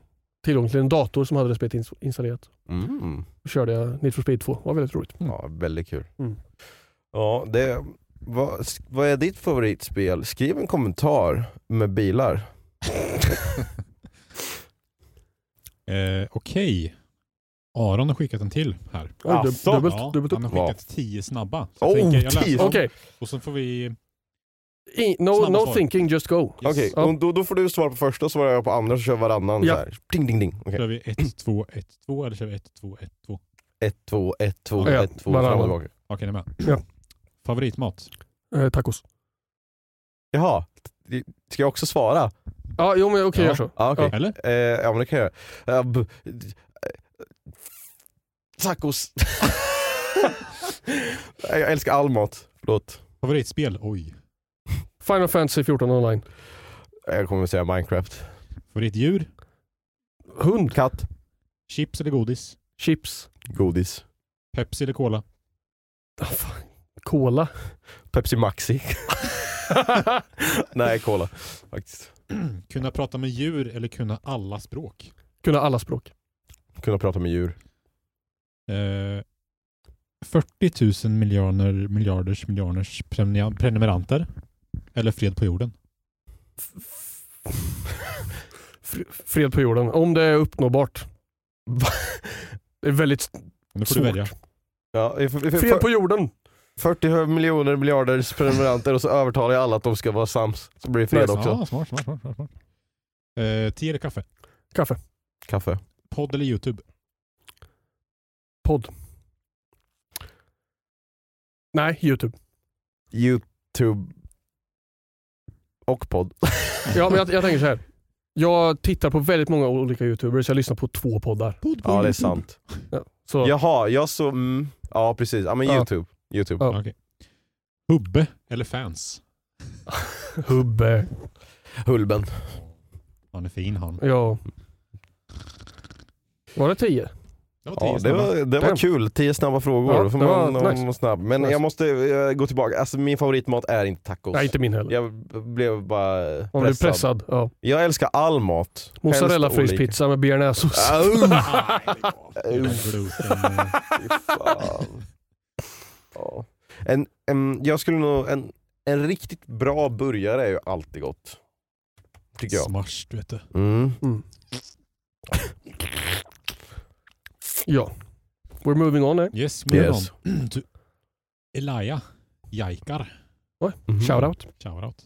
Speaker 2: tillgång till en dator som hade det spelet ins- installerat.
Speaker 1: Mm.
Speaker 2: Då körde jag Need for Speed 2. Det var väldigt roligt.
Speaker 1: Ja, väldigt kul.
Speaker 2: Mm.
Speaker 1: Ja, det, vad, vad är ditt favoritspel? Skriv en kommentar med bilar.
Speaker 3: Eh, Okej. Aron har skickat en till här.
Speaker 2: Oj, dub-
Speaker 1: Asså?
Speaker 2: dubbelt,
Speaker 3: ja,
Speaker 2: dubbelt upp.
Speaker 3: han har
Speaker 1: Va?
Speaker 3: skickat tio snabba. Så jag
Speaker 1: Oh,
Speaker 3: tänker, jag läser
Speaker 1: tio.
Speaker 3: dem.
Speaker 2: Okej,
Speaker 3: Och sen får vi...
Speaker 2: I- no,
Speaker 3: Snabba
Speaker 2: no
Speaker 3: svar.
Speaker 2: thinking, just go.
Speaker 3: Yes.
Speaker 1: Okej,
Speaker 2: Ja.
Speaker 1: och då, då får du svara på första och svarar jag på andra så kör varannan
Speaker 2: Ja.
Speaker 1: så här. Ding ding ding. Okej.
Speaker 3: Kör vi 1, 2, 1, 2 eller kör vi 1, 2, 1, 2?
Speaker 1: Ett, två, ett, två,
Speaker 2: Ja,
Speaker 1: ett, två,
Speaker 2: varannan.
Speaker 1: fram och tillbaka.
Speaker 3: Okej, ni är med.
Speaker 2: Ja.
Speaker 3: Favoritmat?
Speaker 2: Eh, tacos.
Speaker 1: Jaha, ska jag också svara?
Speaker 2: Ja, jo men okej,
Speaker 3: Ja.
Speaker 2: gör så.
Speaker 1: Ja, okej.
Speaker 3: Eller?
Speaker 1: Eh, ja men det kan jag göra. Eh, b- eh,
Speaker 2: <laughs>
Speaker 1: Tacos. Nej, jag älskar all mat. Förlåt.
Speaker 3: Favoritspel? Oj.
Speaker 2: Final Fantasy 14 online.
Speaker 1: Jag kommer att säga Minecraft.
Speaker 3: Favoritdjur?
Speaker 2: Hund,
Speaker 1: Katt.
Speaker 3: Chips eller godis?
Speaker 2: chips,
Speaker 1: Godis.
Speaker 3: Pepsi eller Cola?
Speaker 2: Ah, fan. Cola.
Speaker 1: Pepsi Maxi. <laughs> Nej, Cola faktiskt.
Speaker 3: Kunna prata med djur eller kunna alla språk?
Speaker 2: Kunna alla
Speaker 3: <laughs>
Speaker 2: språk.
Speaker 1: Kunna prata med djur.
Speaker 3: Eh, 40 000 miljarder miljarders miljarders premnia- prenumeranter? Eller fred på jorden?
Speaker 2: Fr- Fred på jorden. Om det är uppnåbart. Det är väldigt
Speaker 3: Nu får
Speaker 2: Svårt.
Speaker 3: du välja.
Speaker 1: Ja, f- f- f-
Speaker 2: Fred på jorden.
Speaker 1: 40 miljoner miljarders prenumeranter och så övertalar jag alla att de ska vara sams. Så blir det fred
Speaker 2: Nice.
Speaker 1: också.
Speaker 3: Ja, smart, smart, smart. smart, smart. Eh, te eller kaffe?
Speaker 2: Kaffe.
Speaker 1: Kaffe.
Speaker 3: Podd eller YouTube?
Speaker 2: Podd. Nej, YouTube.
Speaker 1: Youtube. Och podd.
Speaker 2: Ja, men jag, jag tänker så här. Jag tittar på väldigt många olika YouTubers. Jag lyssnar på två poddar.
Speaker 3: Podd
Speaker 1: Ja, det är sant.
Speaker 2: Ja, Så,
Speaker 1: Jaha, jag så... Mm, ja, precis. Ja, men
Speaker 2: Ja.
Speaker 1: Youtube. YouTube.
Speaker 2: Ja.
Speaker 3: Okej. Hubbe eller fans?
Speaker 2: Hubbe.
Speaker 1: Hulben.
Speaker 3: Han är fin han.
Speaker 2: Ja. Var det tio?
Speaker 3: Det var tio
Speaker 1: Ja, det
Speaker 3: snabba.
Speaker 1: var,
Speaker 3: <laughs>
Speaker 1: det var
Speaker 2: Damn.
Speaker 1: kul. Tio snabba frågor.
Speaker 2: Ja,
Speaker 1: Då får
Speaker 2: det var
Speaker 1: man, man
Speaker 2: nice.
Speaker 1: vara snabb. Men
Speaker 2: Nice.
Speaker 1: jag måste eh, gå tillbaka. Alltså, min favoritmat är inte tacos.
Speaker 2: Nej, inte min heller.
Speaker 1: Jag blev bara eh,
Speaker 2: Om du är
Speaker 1: pressad.
Speaker 2: pressad. Ja.
Speaker 1: Jag älskar all mat.
Speaker 2: Mozzarella
Speaker 1: Helst olika.
Speaker 2: fryspizza med bearnaisesås. <laughs>
Speaker 1: Ah, uh,
Speaker 3: Ah, lägg av. Det är gluten, eh.
Speaker 1: fy <laughs> fan. Ja. En, en, jag skulle nog, en, en riktigt bra burgare är ju alltid gott. Tycker jag.
Speaker 3: Smash, du vet du.
Speaker 1: Mm.
Speaker 2: Mm. Ja. We're moving on eh. här.
Speaker 3: Yes,
Speaker 1: Yes.
Speaker 3: <clears throat> yes. Du, Elia Jaikar.
Speaker 1: Mm.
Speaker 2: Shoutout.
Speaker 3: Shoutout.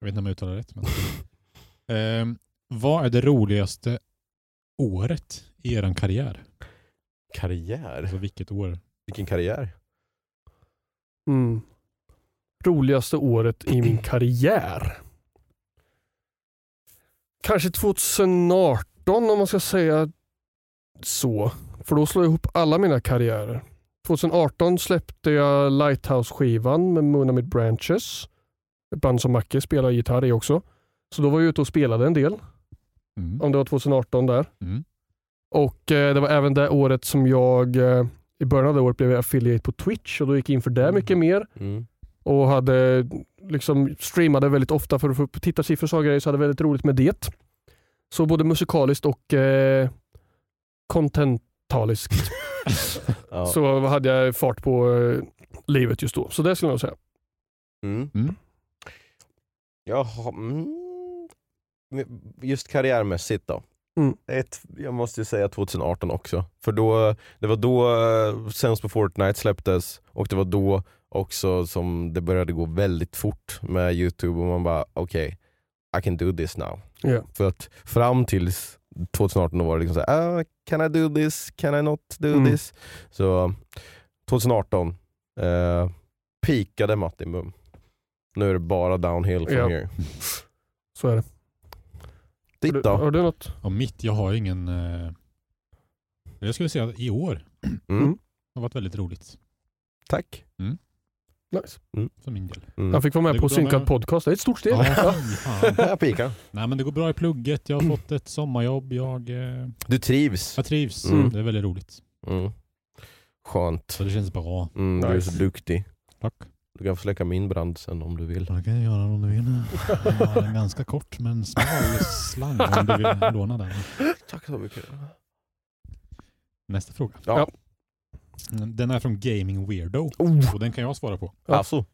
Speaker 3: Jag vet inte om jag uttalar det rätt. Men. Ehm, vad är det roligaste året i er karriär?
Speaker 1: <laughs> Karriär?
Speaker 3: Alltså vilket år?
Speaker 1: Vilken karriär?
Speaker 2: Mm. Roligaste året i min karriär. Kanske 2018 om man ska säga så. För då slår jag ihop alla mina karriärer. 2018 släppte jag Lighthouse-skivan med Moonamid Branches. Ett band som Macke spelar gitarr i också. Så då var jag ute och spelade en del.
Speaker 3: Mm.
Speaker 2: Om det var 2018 där.
Speaker 3: Mm.
Speaker 2: Och eh, det var även det året som jag eh, i början av det året blev jag affiliate på Twitch och då gick jag in för det mycket mer
Speaker 1: Mm.
Speaker 2: och hade liksom streamade väldigt ofta för att få upp tittarsiffror och så grejer, så hade väldigt roligt med det. Så både musikaliskt och eh, contentaliskt
Speaker 1: Ja.
Speaker 2: så hade jag fart på eh, livet just då. Så det skulle jag nog säga.
Speaker 1: Mm.
Speaker 3: Mm.
Speaker 1: Jaha. Mm. Just karriärmässigt då.
Speaker 2: Mm.
Speaker 1: Ett, jag måste ju säga 2018 också. För då, det var då eh, Sens på Fortnite släpptes och det var då också som det började gå väldigt fort med Youtube och man bara okej, I can do this now.
Speaker 2: Ja.
Speaker 1: För att fram tills 2018 då var det liksom såhär, ah, can I do this? Can I not do
Speaker 2: Mm.
Speaker 1: this? Så 2018 eh, peakade Martin Bum. Nu är det bara downhill from
Speaker 2: Ja.
Speaker 1: here.
Speaker 2: Så är det. Har
Speaker 1: Ditt
Speaker 2: du,
Speaker 1: då?
Speaker 2: har du något?
Speaker 3: Ja, mitt, jag har ju ingen... Eh... Jag skulle säga att i år <clears throat>
Speaker 1: Mm.
Speaker 3: har varit väldigt roligt
Speaker 1: Tack.
Speaker 2: Nice.
Speaker 3: för min del.
Speaker 1: Mm. <laughs>
Speaker 2: Jag fick vara med
Speaker 3: Det
Speaker 2: på
Speaker 3: går bra
Speaker 2: synkad
Speaker 3: med-
Speaker 2: podcast. Det är ett stort steg.
Speaker 3: Ja, fy fan.
Speaker 1: Jag pikar.
Speaker 3: Nej men det går bra i plugget, jag har fått ett sommarjobb, jag, eh,
Speaker 1: Du trivs.
Speaker 3: jag trivs.
Speaker 1: Mm.
Speaker 3: Det är väldigt roligt.
Speaker 1: Mm. Skönt.
Speaker 3: Så det känns bra.
Speaker 1: Mm, Du är
Speaker 2: Nice.
Speaker 1: så duktig.
Speaker 3: Tack.
Speaker 1: Du kan få släcka min brand sen om du vill.
Speaker 3: Det kan jag göra om du vill. Jag har en ganska kort men smal slang om du vill låna den.
Speaker 1: Tack så mycket.
Speaker 3: Nästa fråga.
Speaker 1: Ja.
Speaker 3: Den är från Gaming Weirdo
Speaker 1: Oh.
Speaker 3: och den kan jag svara på.
Speaker 2: Ja.
Speaker 1: Alltså.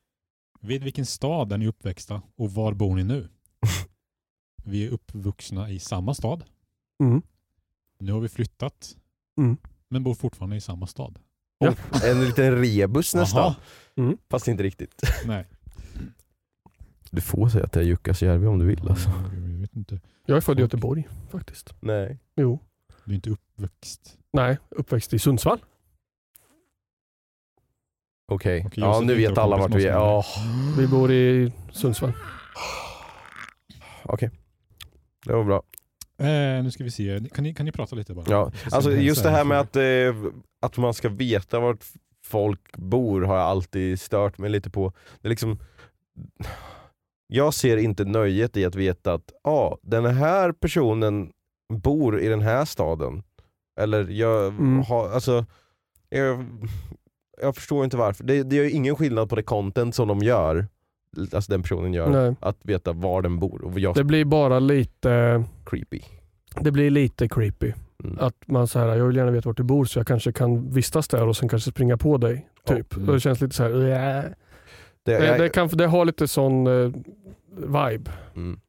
Speaker 3: Vid vilken stad är ni uppväxta och var bor
Speaker 1: <laughs>
Speaker 3: ni nu? Vi är uppvuxna i samma stad.
Speaker 2: Mm.
Speaker 3: Nu har vi flyttat
Speaker 2: Mm.
Speaker 3: men bor fortfarande i samma stad.
Speaker 2: Ja.
Speaker 1: En liten rebus nästan.
Speaker 3: Jaha.
Speaker 1: Fast inte riktigt. <laughs>
Speaker 3: Nej.
Speaker 1: Du får säga att det är Jukkasjärvi om du vill alltså.
Speaker 3: Mm, Jag vet inte.
Speaker 2: Jag är född i Göteborg faktiskt.
Speaker 1: Nej.
Speaker 2: Jo.
Speaker 3: Du är inte uppväxt.
Speaker 2: Nej, uppväxt i Sundsvall.
Speaker 1: Okej.
Speaker 3: Okej,
Speaker 1: ja
Speaker 3: Josef
Speaker 1: nu
Speaker 3: Viktor
Speaker 1: vet alla
Speaker 3: kompis
Speaker 1: vart vi är.
Speaker 3: måste vara
Speaker 1: Ja.
Speaker 3: med.
Speaker 2: Vi bor i Sundsvall.
Speaker 1: Okej. Det var bra.
Speaker 3: Eh, nu ska vi se. Kan ni, kan ni prata lite bara?
Speaker 1: Ja.
Speaker 3: Ska
Speaker 1: Alltså
Speaker 3: vi hälsa
Speaker 1: just det
Speaker 3: en
Speaker 1: här med
Speaker 3: fråga?
Speaker 1: att, eh, att man ska veta vart folk bor har jag alltid stört mig lite på. Det är liksom, jag ser inte nöjet i att veta att ah, den här personen bor i den här staden. Eller jag
Speaker 2: Mm.
Speaker 1: har, alltså, Jag, jag förstår inte varför. Det, det gör ju ingen skillnad på det content som de gör, alltså den personen gör,
Speaker 2: Nej.
Speaker 1: att veta var den bor. Och jag
Speaker 2: Det blir bara lite,
Speaker 1: creepy.
Speaker 2: det blir lite creepy.
Speaker 1: Mm.
Speaker 2: Att man så här, jag vill gärna veta vart du bor så jag kanske kan vistas där och sen kanske springa på dig.
Speaker 1: Ja.
Speaker 2: Typ. Och det känns lite så här, "Äh."
Speaker 1: Det,
Speaker 2: det,
Speaker 1: jag,
Speaker 2: det, kan, det har lite sån eh, vibe.
Speaker 1: mm.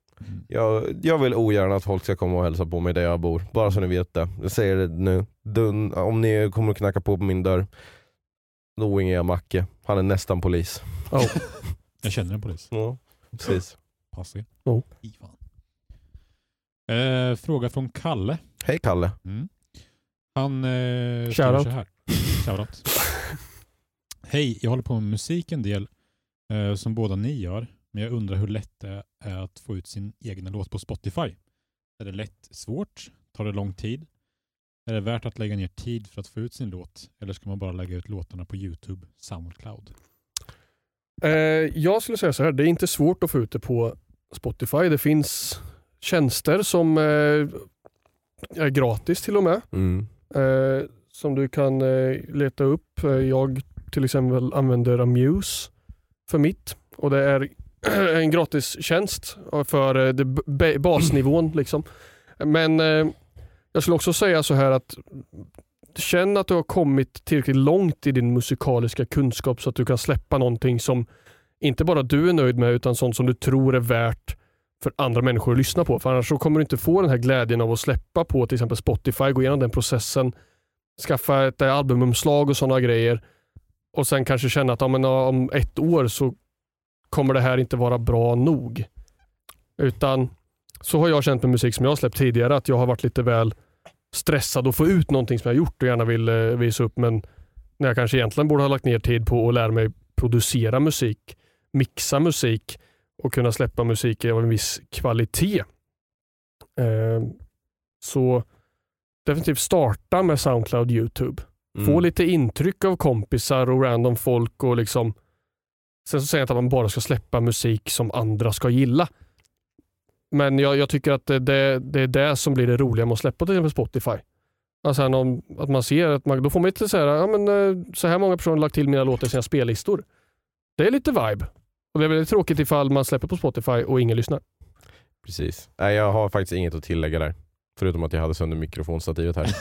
Speaker 1: jag, jag vill ogärna att folk ska komma och hälsa på mig där jag bor. Bara så ni vet det. Jag säger det nu. Dun, om ni kommer och knacka på på min dörr, då ringer jag Macke. Han är nästan polis.
Speaker 2: Ja.
Speaker 3: Jag känner en polis.
Speaker 1: Ja, precis. Oh.
Speaker 3: Pass er.
Speaker 2: Jo.
Speaker 3: Fy fan. Eh, fråga från Kalle.
Speaker 1: <laughs> Hej Kalle.
Speaker 3: Mm. Han eh, skriver
Speaker 2: Shoutout.
Speaker 3: så här. Shoutout. Hej, jag håller på med musik en del eh, som båda ni gör, men jag undrar hur lätt det är att få ut sin egna låt på Spotify. Är det lätt, svårt, tar det lång tid? Är det värt att lägga ner tid för att få ut sin låt eller ska man bara lägga ut låtarna på Youtube, Soundcloud?
Speaker 2: Eh, jag skulle säga så här, det är inte svårt att få ut det på Spotify. Det finns tjänster som eh, är gratis till och med.
Speaker 1: <laughs> Mm.
Speaker 2: eh, som du kan eh, leta upp. Eh, Jag till exempel använder Amuse för mitt och det är <clears throat> en gratistjänst för eh, det b- ba- basnivån. <clears throat> Liksom. Men eh, jag skulle också säga så här att känn att du har kommit tillräckligt långt i din musikaliska kunskap så att du kan släppa någonting som inte bara du är nöjd med utan sånt som du tror är värt för andra människor att lyssna på. För annars så kommer du inte få den här glädjen av att släppa på till exempel Spotify, gå igenom den processen, skaffa ett eh, albumomslag och sådana grejer och sen kanske känna att ja, men, ja, om ett år så kommer det här inte vara bra nog. Utan så har jag känt med musik som jag har släppt tidigare att jag har varit lite väl stressad att få ut någonting som jag har gjort och gärna vill eh, visa upp men när jag kanske egentligen borde ha lagt ner tid på att lära mig producera musik, mixa musik och kunna släppa musik av en viss kvalitet. Eh, så definitivt starta med Soundcloud Youtube. Få
Speaker 1: Mm.
Speaker 2: lite intryck av kompisar och random folk och liksom Sen så säger jag inte att man bara ska släppa musik som andra ska gilla. Men jag, jag tycker att det, det, det är det som blir det roliga med att släppa till exempel Spotify. Alltså här, om, att man ser att man, då får man lite så här, ja, men, eh, så här många personer har lagt till mina låtar i sina spellistor. Det är lite vibe. Och det är väldigt tråkigt ifall man släpper på Spotify och ingen lyssnar.
Speaker 1: Precis. Nej, jag har faktiskt inget att tillägga där. Förutom att jag hade sönder mikrofonstativet här.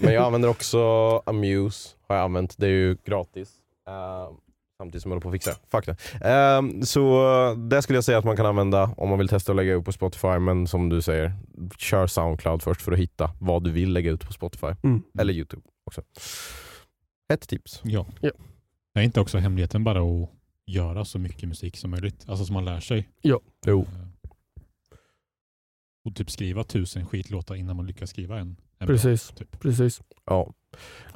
Speaker 1: <laughs> Men jag använder också Amuse. Har jag använt. Det är ju gratis. Ehm, samtidigt som jag håller på att fixa. Fuck det. Ehm, så det skulle jag säga att man kan använda om man vill testa att lägga ut på Spotify. Men som du säger, kör Soundcloud först för att hitta vad du vill lägga ut på Spotify.
Speaker 2: Mm.
Speaker 1: Eller Youtube också. Ett tips.
Speaker 3: Ja.
Speaker 2: Ja.
Speaker 3: Är inte också hemligheten bara att göra så mycket musik som möjligt? Alltså som man lär sig.
Speaker 2: Ja.
Speaker 1: Jo.
Speaker 3: Eh, Och typ skriva tusen skitlåtar innan man lyckas skriva en. en bra,
Speaker 2: Precis.
Speaker 3: Typ.
Speaker 2: Precis.
Speaker 1: Ja.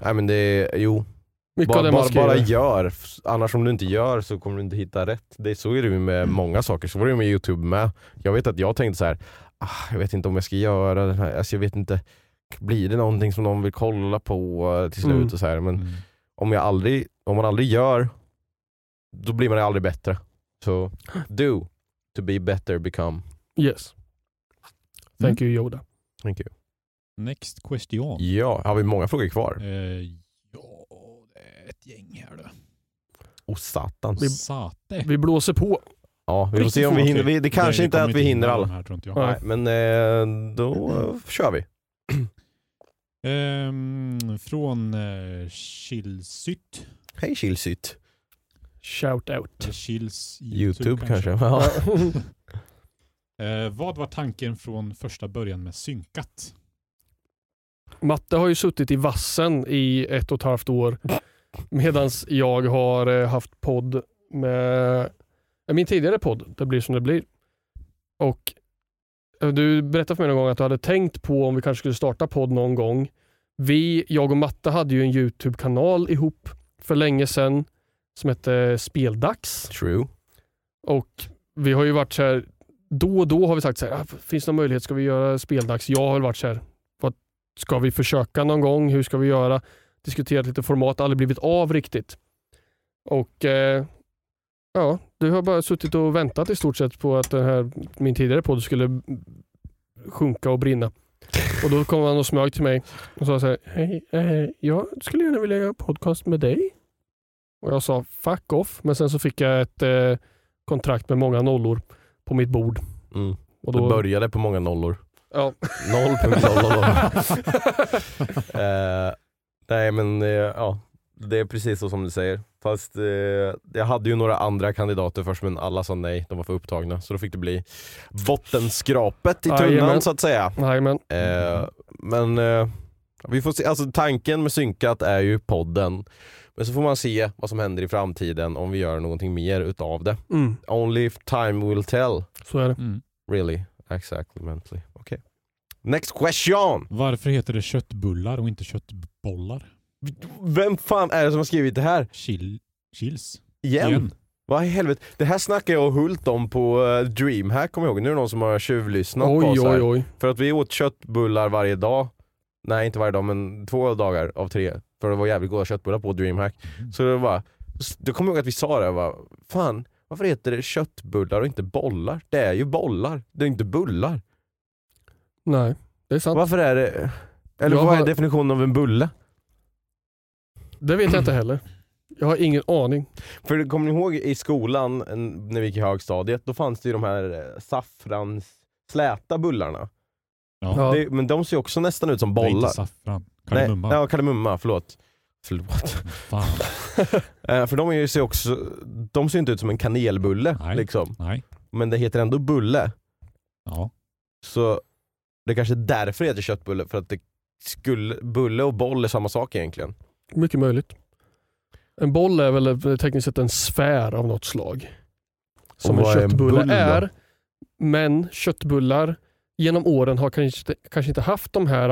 Speaker 1: Nej men det är, jo.
Speaker 2: Mycket av
Speaker 1: Bara,
Speaker 2: det man
Speaker 1: bara,
Speaker 2: skriver.
Speaker 1: bara gör. F- Annars om du inte gör så kommer du inte hitta rätt. Det, så är det ju med många saker. Så var det ju med Youtube med. Jag vet att jag tänkte så här. Ah, jag vet inte om jag ska göra den här. Alltså, jag vet inte. Blir det någonting som någon vill kolla på eh, till slut?
Speaker 2: Mm.
Speaker 1: Och så här. Men
Speaker 3: Mm.
Speaker 1: om, jag aldrig, om man aldrig gör, då blir man ju aldrig bättre. Så do, to be better, become.
Speaker 2: Yes. Thank
Speaker 1: Mm.
Speaker 2: you Yoda.
Speaker 1: Thank you.
Speaker 3: Next question.
Speaker 1: Ja, har vi många frågor kvar?
Speaker 3: Eh, ja, det är ett gäng här då.
Speaker 1: Oh satan.
Speaker 2: Vi-
Speaker 3: Sate.
Speaker 2: Vi blåser på.
Speaker 1: Ja, vi får se om vi hinner. Vi, det kanske inte är att vi hinner alla.
Speaker 3: Här, tror inte jag.
Speaker 1: Nej, men eh, då eh, kör vi.
Speaker 3: Ehm, från eh, Chilsytt.
Speaker 1: Hej Chilsyt.
Speaker 2: Shout out.
Speaker 3: Eller Chils
Speaker 1: Youtube, kanske.
Speaker 2: Ja.
Speaker 1: Ja.
Speaker 3: <laughs>
Speaker 2: <laughs>
Speaker 1: <laughs>
Speaker 3: Eh, vad var tanken från första början med synkat?
Speaker 2: Matte har ju suttit i vassen i ett och ett halvt år medan jag har eh, haft podd med eh, min tidigare podd, Det blir som det blir. Och eh, Du berättade för mig någon gång att du hade tänkt på om vi kanske skulle starta podd någon gång. Vi, jag och Matte hade ju en YouTube-kanal ihop för länge sedan som hette Speldags.
Speaker 1: True.
Speaker 2: Och vi har ju varit så här, då och då har vi sagt så här, "Ah, finns det någon möjlighet, ska vi göra speldags? Jag har varit så här, vad, ska vi försöka någon gång? Hur ska vi göra? Diskuterat lite format, aldrig blivit av riktigt. Och eh, ja, du har bara suttit och väntat i stort sett på att den här, min tidigare podd skulle sjunka och brinna. Och då kom han och smög till mig och sa så här, hej, eh, jag skulle gärna vilja göra podcast med dig. Och jag sa fuck off, men sen så fick jag ett eh, kontrakt med många nollor på mitt bord.
Speaker 1: Mm.
Speaker 2: Och
Speaker 1: Det
Speaker 2: då,
Speaker 1: började på många nollor.
Speaker 2: ja, <laughs>
Speaker 1: 0.00. eh, nej men eh, ja, det är precis så som du säger. Fast eh, jag hade ju några andra kandidater först men alla sa nej, de var för upptagna. Så då fick det bli bottenskrapet i tunnan
Speaker 2: Jajamän.
Speaker 1: så att säga.
Speaker 2: nej men
Speaker 1: Eh, men eh, vi får se, alltså tanken med synkat är ju podden. Men så får man se vad som händer i framtiden om vi gör någonting mer utav det.
Speaker 2: mm,
Speaker 1: Only time will tell.
Speaker 2: så är det.
Speaker 3: Mm.
Speaker 1: Really, exactly, mentally. Okej. Next question!
Speaker 3: Varför heter det köttbullar och inte köttbollar?
Speaker 1: Vem fan är det som har skrivit det här?
Speaker 3: Chill, chills.
Speaker 1: Igen? Vad i helvete? Det här snackade jag och Hult om på eh, DreamHack kommer jag ihåg. Nu är det någon som har tjuvlyssnat på
Speaker 2: Oj,
Speaker 1: oss här.
Speaker 2: oj, oj.
Speaker 1: För att vi åt köttbullar varje dag. Nej inte varje dag men två dagar av tre. För det var jävligt goda köttbullar på DreamHack. Så det var då kommer jag ihåg att vi sa det bara, fan varför heter det köttbullar och inte bollar? Det är ju bollar, det är inte bullar.
Speaker 2: Nej, det är sant.
Speaker 1: Varför är det... Eller
Speaker 2: Jag
Speaker 1: vad är
Speaker 2: har-
Speaker 1: definitionen av en bulle?
Speaker 2: Det vet jag inte heller. Jag har ingen aning.
Speaker 1: För kommer ni ihåg i skolan en- när vi gick i högstadiet, då fanns det ju de här eh, saffrans släta bullarna.
Speaker 3: Ja.
Speaker 2: Ja.
Speaker 1: Det, men de ser ju också nästan ut som
Speaker 3: Det är inte
Speaker 1: bollar.
Speaker 3: saffran.
Speaker 1: Nej,
Speaker 3: Kardemumma.
Speaker 1: Ja, kardemumma, förlåt. Förlåt.
Speaker 3: <laughs> Fan,
Speaker 1: Eh, för de är ju ser också, de ser ju inte ut som en kanelbulle <laughs>
Speaker 3: Nej.
Speaker 1: liksom.
Speaker 3: nej.
Speaker 1: Men det heter ändå bulle.
Speaker 3: Ja.
Speaker 1: Så det kanske är därför det heter köttbulle, för att det skulle, bulle och boll är samma sak egentligen.
Speaker 2: Mycket möjligt. En boll är väl tekniskt sett en sfär av något slag. Som
Speaker 1: Och
Speaker 2: en
Speaker 1: vad är en
Speaker 2: köttbulle
Speaker 1: bull då?
Speaker 2: är. Men köttbullar genom åren har kanske inte, kanske inte haft de här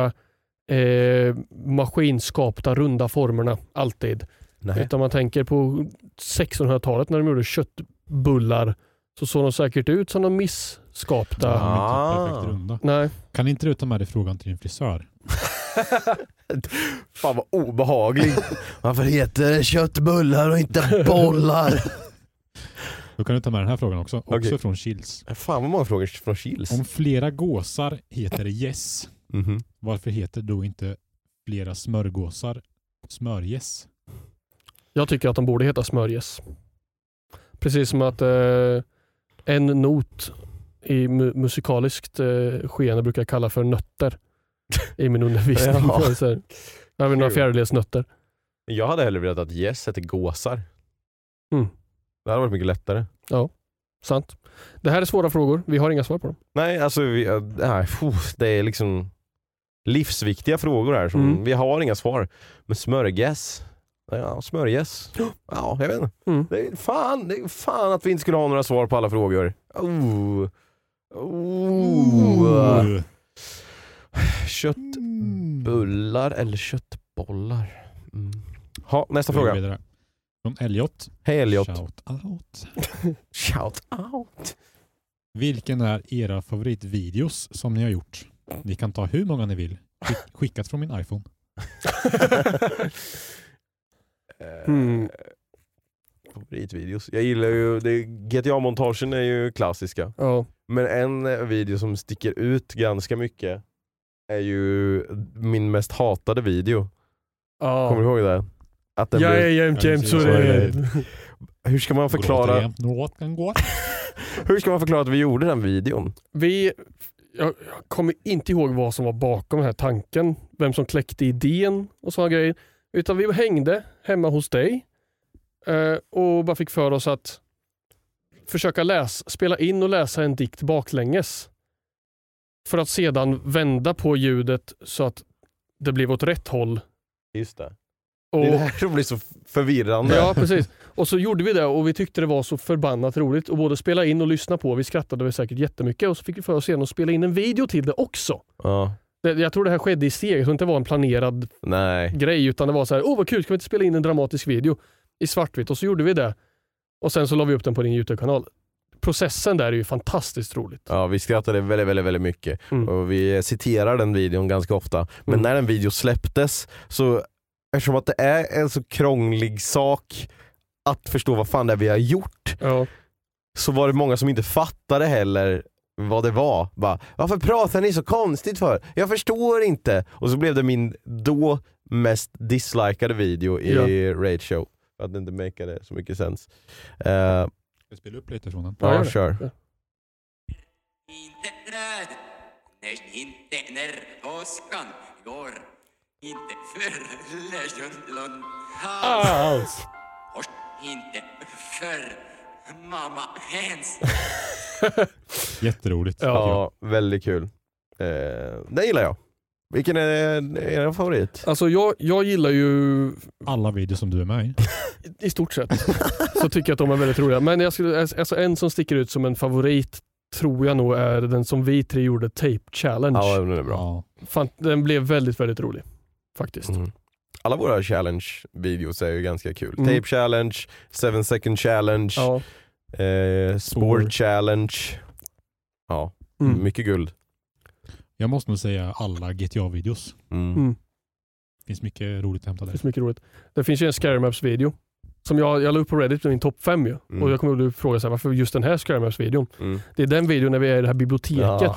Speaker 2: eh, maskinskapta runda formerna alltid.
Speaker 1: Nej.
Speaker 2: Utan man tänker på 1600-talet när de gjorde köttbullar så såg de säkert ut som de misskapta.
Speaker 1: Ah.
Speaker 3: Ja, men inte perfekt runda.
Speaker 2: Nej,
Speaker 3: Kan inte du ta med dig frågan till din frisör?
Speaker 1: <laughs> Fan vad obehaglig. Varför heter det köttbullar och inte bollar?
Speaker 3: Då kan du ta med den här frågan också. Också
Speaker 1: Okej.
Speaker 3: från Chills.
Speaker 1: <laughs> Fan vad många frågor från Kils.
Speaker 3: Om flera gåsar heter det yes,
Speaker 1: Mhm.
Speaker 3: varför heter då inte flera smörgåsar smörgäss?
Speaker 2: jag tycker att de borde heta smörjes. Precis som att eh, en not i mu- musikaliskt eh, skeende brukar jag kalla för nötter i
Speaker 1: <laughs>
Speaker 2: min undervisning.
Speaker 1: Ja.
Speaker 2: Så här, jag vet, några
Speaker 1: Kul.
Speaker 2: fjärdedelsnötter.
Speaker 1: Jag hade hellre velat att gäss hette gåsar.
Speaker 2: Mm.
Speaker 1: Det hade varit mycket lättare.
Speaker 2: Sant. Det här är svåra frågor. Vi har inga svar på dem.
Speaker 1: Nej, alltså vi, äh, nej, fuh, det är liksom livsviktiga frågor här. Som,
Speaker 2: Mm.
Speaker 1: Vi har inga svar. Men smörgäss? Ja, smörgäss. Ja, jag vet inte.
Speaker 2: Mm.
Speaker 1: Det är fan, det är fan att vi inte skulle ha några svar på alla frågor. Oh. Oh.
Speaker 3: Ooh. Mm.
Speaker 1: Köttbullar eller köttbollar? Mm. Ha, nästa
Speaker 3: Vi går
Speaker 1: fråga.
Speaker 3: vidare. Från Elliot.
Speaker 1: Hej Elliot.
Speaker 3: Shout out.
Speaker 1: <laughs> Shout out.
Speaker 3: Vilken är era favoritvideos som ni har gjort? Ni kan ta hur många ni vill.
Speaker 1: <laughs>
Speaker 3: Skick- Skickat från min iPhone.
Speaker 2: Mm.
Speaker 1: Eh, Favoritvideos. Jag gillar ju, det- GTA-montagen är ju klassiska.
Speaker 2: Ja.
Speaker 1: Men en eh, video som sticker ut ganska mycket är ju min mest hatade video. Kommer
Speaker 2: Ja.
Speaker 1: du ihåg det? Att den
Speaker 2: Jag är
Speaker 1: blev,
Speaker 2: jämt,
Speaker 3: Ja,
Speaker 2: jämt
Speaker 3: precis.
Speaker 2: så
Speaker 1: Så är
Speaker 2: det
Speaker 1: det. hur, ska man
Speaker 3: Gråter
Speaker 1: förklara,
Speaker 3: jämt, Något kan gå.
Speaker 1: hur ska man förklara att vi gjorde den videon?
Speaker 2: Vi, jag, jag kommer inte ihåg vad som var bakom den här tanken. Vem som kläckte idén och sådana grejer. Utan vi hängde hemma hos dig eh, och bara fick för oss att försöka läsa, spela in och läsa en dikt baklänges. För att sedan vända på ljudet så att det blev åt rätt håll.
Speaker 1: Just det.
Speaker 2: Och,
Speaker 1: Det är det här <laughs> som blir så förvirrande.
Speaker 2: Ja, precis. Och så gjorde vi det och vi tyckte det var så förbannat roligt att både spela in och lyssna på. Vi skrattade väl säkert jättemycket och så fick vi för oss igen att spela in en video till det också.
Speaker 1: Ja.
Speaker 2: Det- Jag tror det här skedde i steg, jag tror inte det var en planerad
Speaker 1: Nej.
Speaker 2: grej utan det var så här, åh vad kul, ska vi inte spela in en dramatisk video i svartvitt? Och så gjorde vi det. Och sen så la vi upp den på din YouTube-kanal. Processen där är ju fantastiskt roligt.
Speaker 1: Ja, vi skrattade väldigt, väldigt, väldigt mycket.
Speaker 2: Mm.
Speaker 1: Och vi citerar den videon ganska ofta. Men
Speaker 2: Mm.
Speaker 1: när den videon släpptes, så eftersom att det är en så krånglig sak att förstå vad fan det är vi har gjort,
Speaker 2: Ja,
Speaker 1: så var det många som inte fattade heller vad det var. Bara, Varför pratar ni så konstigt för? Jag förstår inte. Och så blev det min då mest dislikade video i Raid Show. För att det inte makade så mycket sens. Eh,
Speaker 3: Jag spelar upp lite från den.
Speaker 2: Ja, gör
Speaker 1: ja,
Speaker 2: det.
Speaker 1: kör.
Speaker 4: Inte när, nej inte när påskan går, inte för Lejonlund
Speaker 2: Alls.
Speaker 4: och inte för mamma Hens.
Speaker 3: Jätteroligt.
Speaker 1: Ja, väldigt kul. Eh, den gillar jag. Vilken är är er favorit?
Speaker 2: <laughs> Alltså jag, jag gillar ju
Speaker 3: Alla videos som du är med i.
Speaker 2: I stort sett <laughs> så tycker jag att de är väldigt roliga. Men jag skulle, alltså en som sticker ut som en favorit tror jag nog är den som vi tre gjorde, Tape Challenge.
Speaker 1: Ja, den är bra.
Speaker 3: Ja.
Speaker 2: Fan, den blev väldigt, väldigt rolig. Faktiskt.
Speaker 1: Mm. Alla våra challenge-videos är ju ganska kul.
Speaker 2: Mm.
Speaker 1: Tape challenge, 7 second challenge,
Speaker 2: Ja.
Speaker 1: eh,
Speaker 3: Spår.
Speaker 1: spår challenge. Ja,
Speaker 2: Mm.
Speaker 1: mycket guld.
Speaker 3: Jag måste nog säga alla GTA-videos.
Speaker 1: Mm.
Speaker 2: Mm.
Speaker 3: Det finns mycket roligt att hämta
Speaker 2: Det
Speaker 3: där.
Speaker 2: finns mycket roligt. Det finns ju en Scary Maps-video. Som jag, jag la upp på Reddit, min topp fem ju.
Speaker 1: Mm.
Speaker 2: Och jag kommer att fråga så här, varför just den här Scary Maps-videon?
Speaker 1: Mm.
Speaker 2: Det är den videon när vi är i det här biblioteket
Speaker 1: Ja.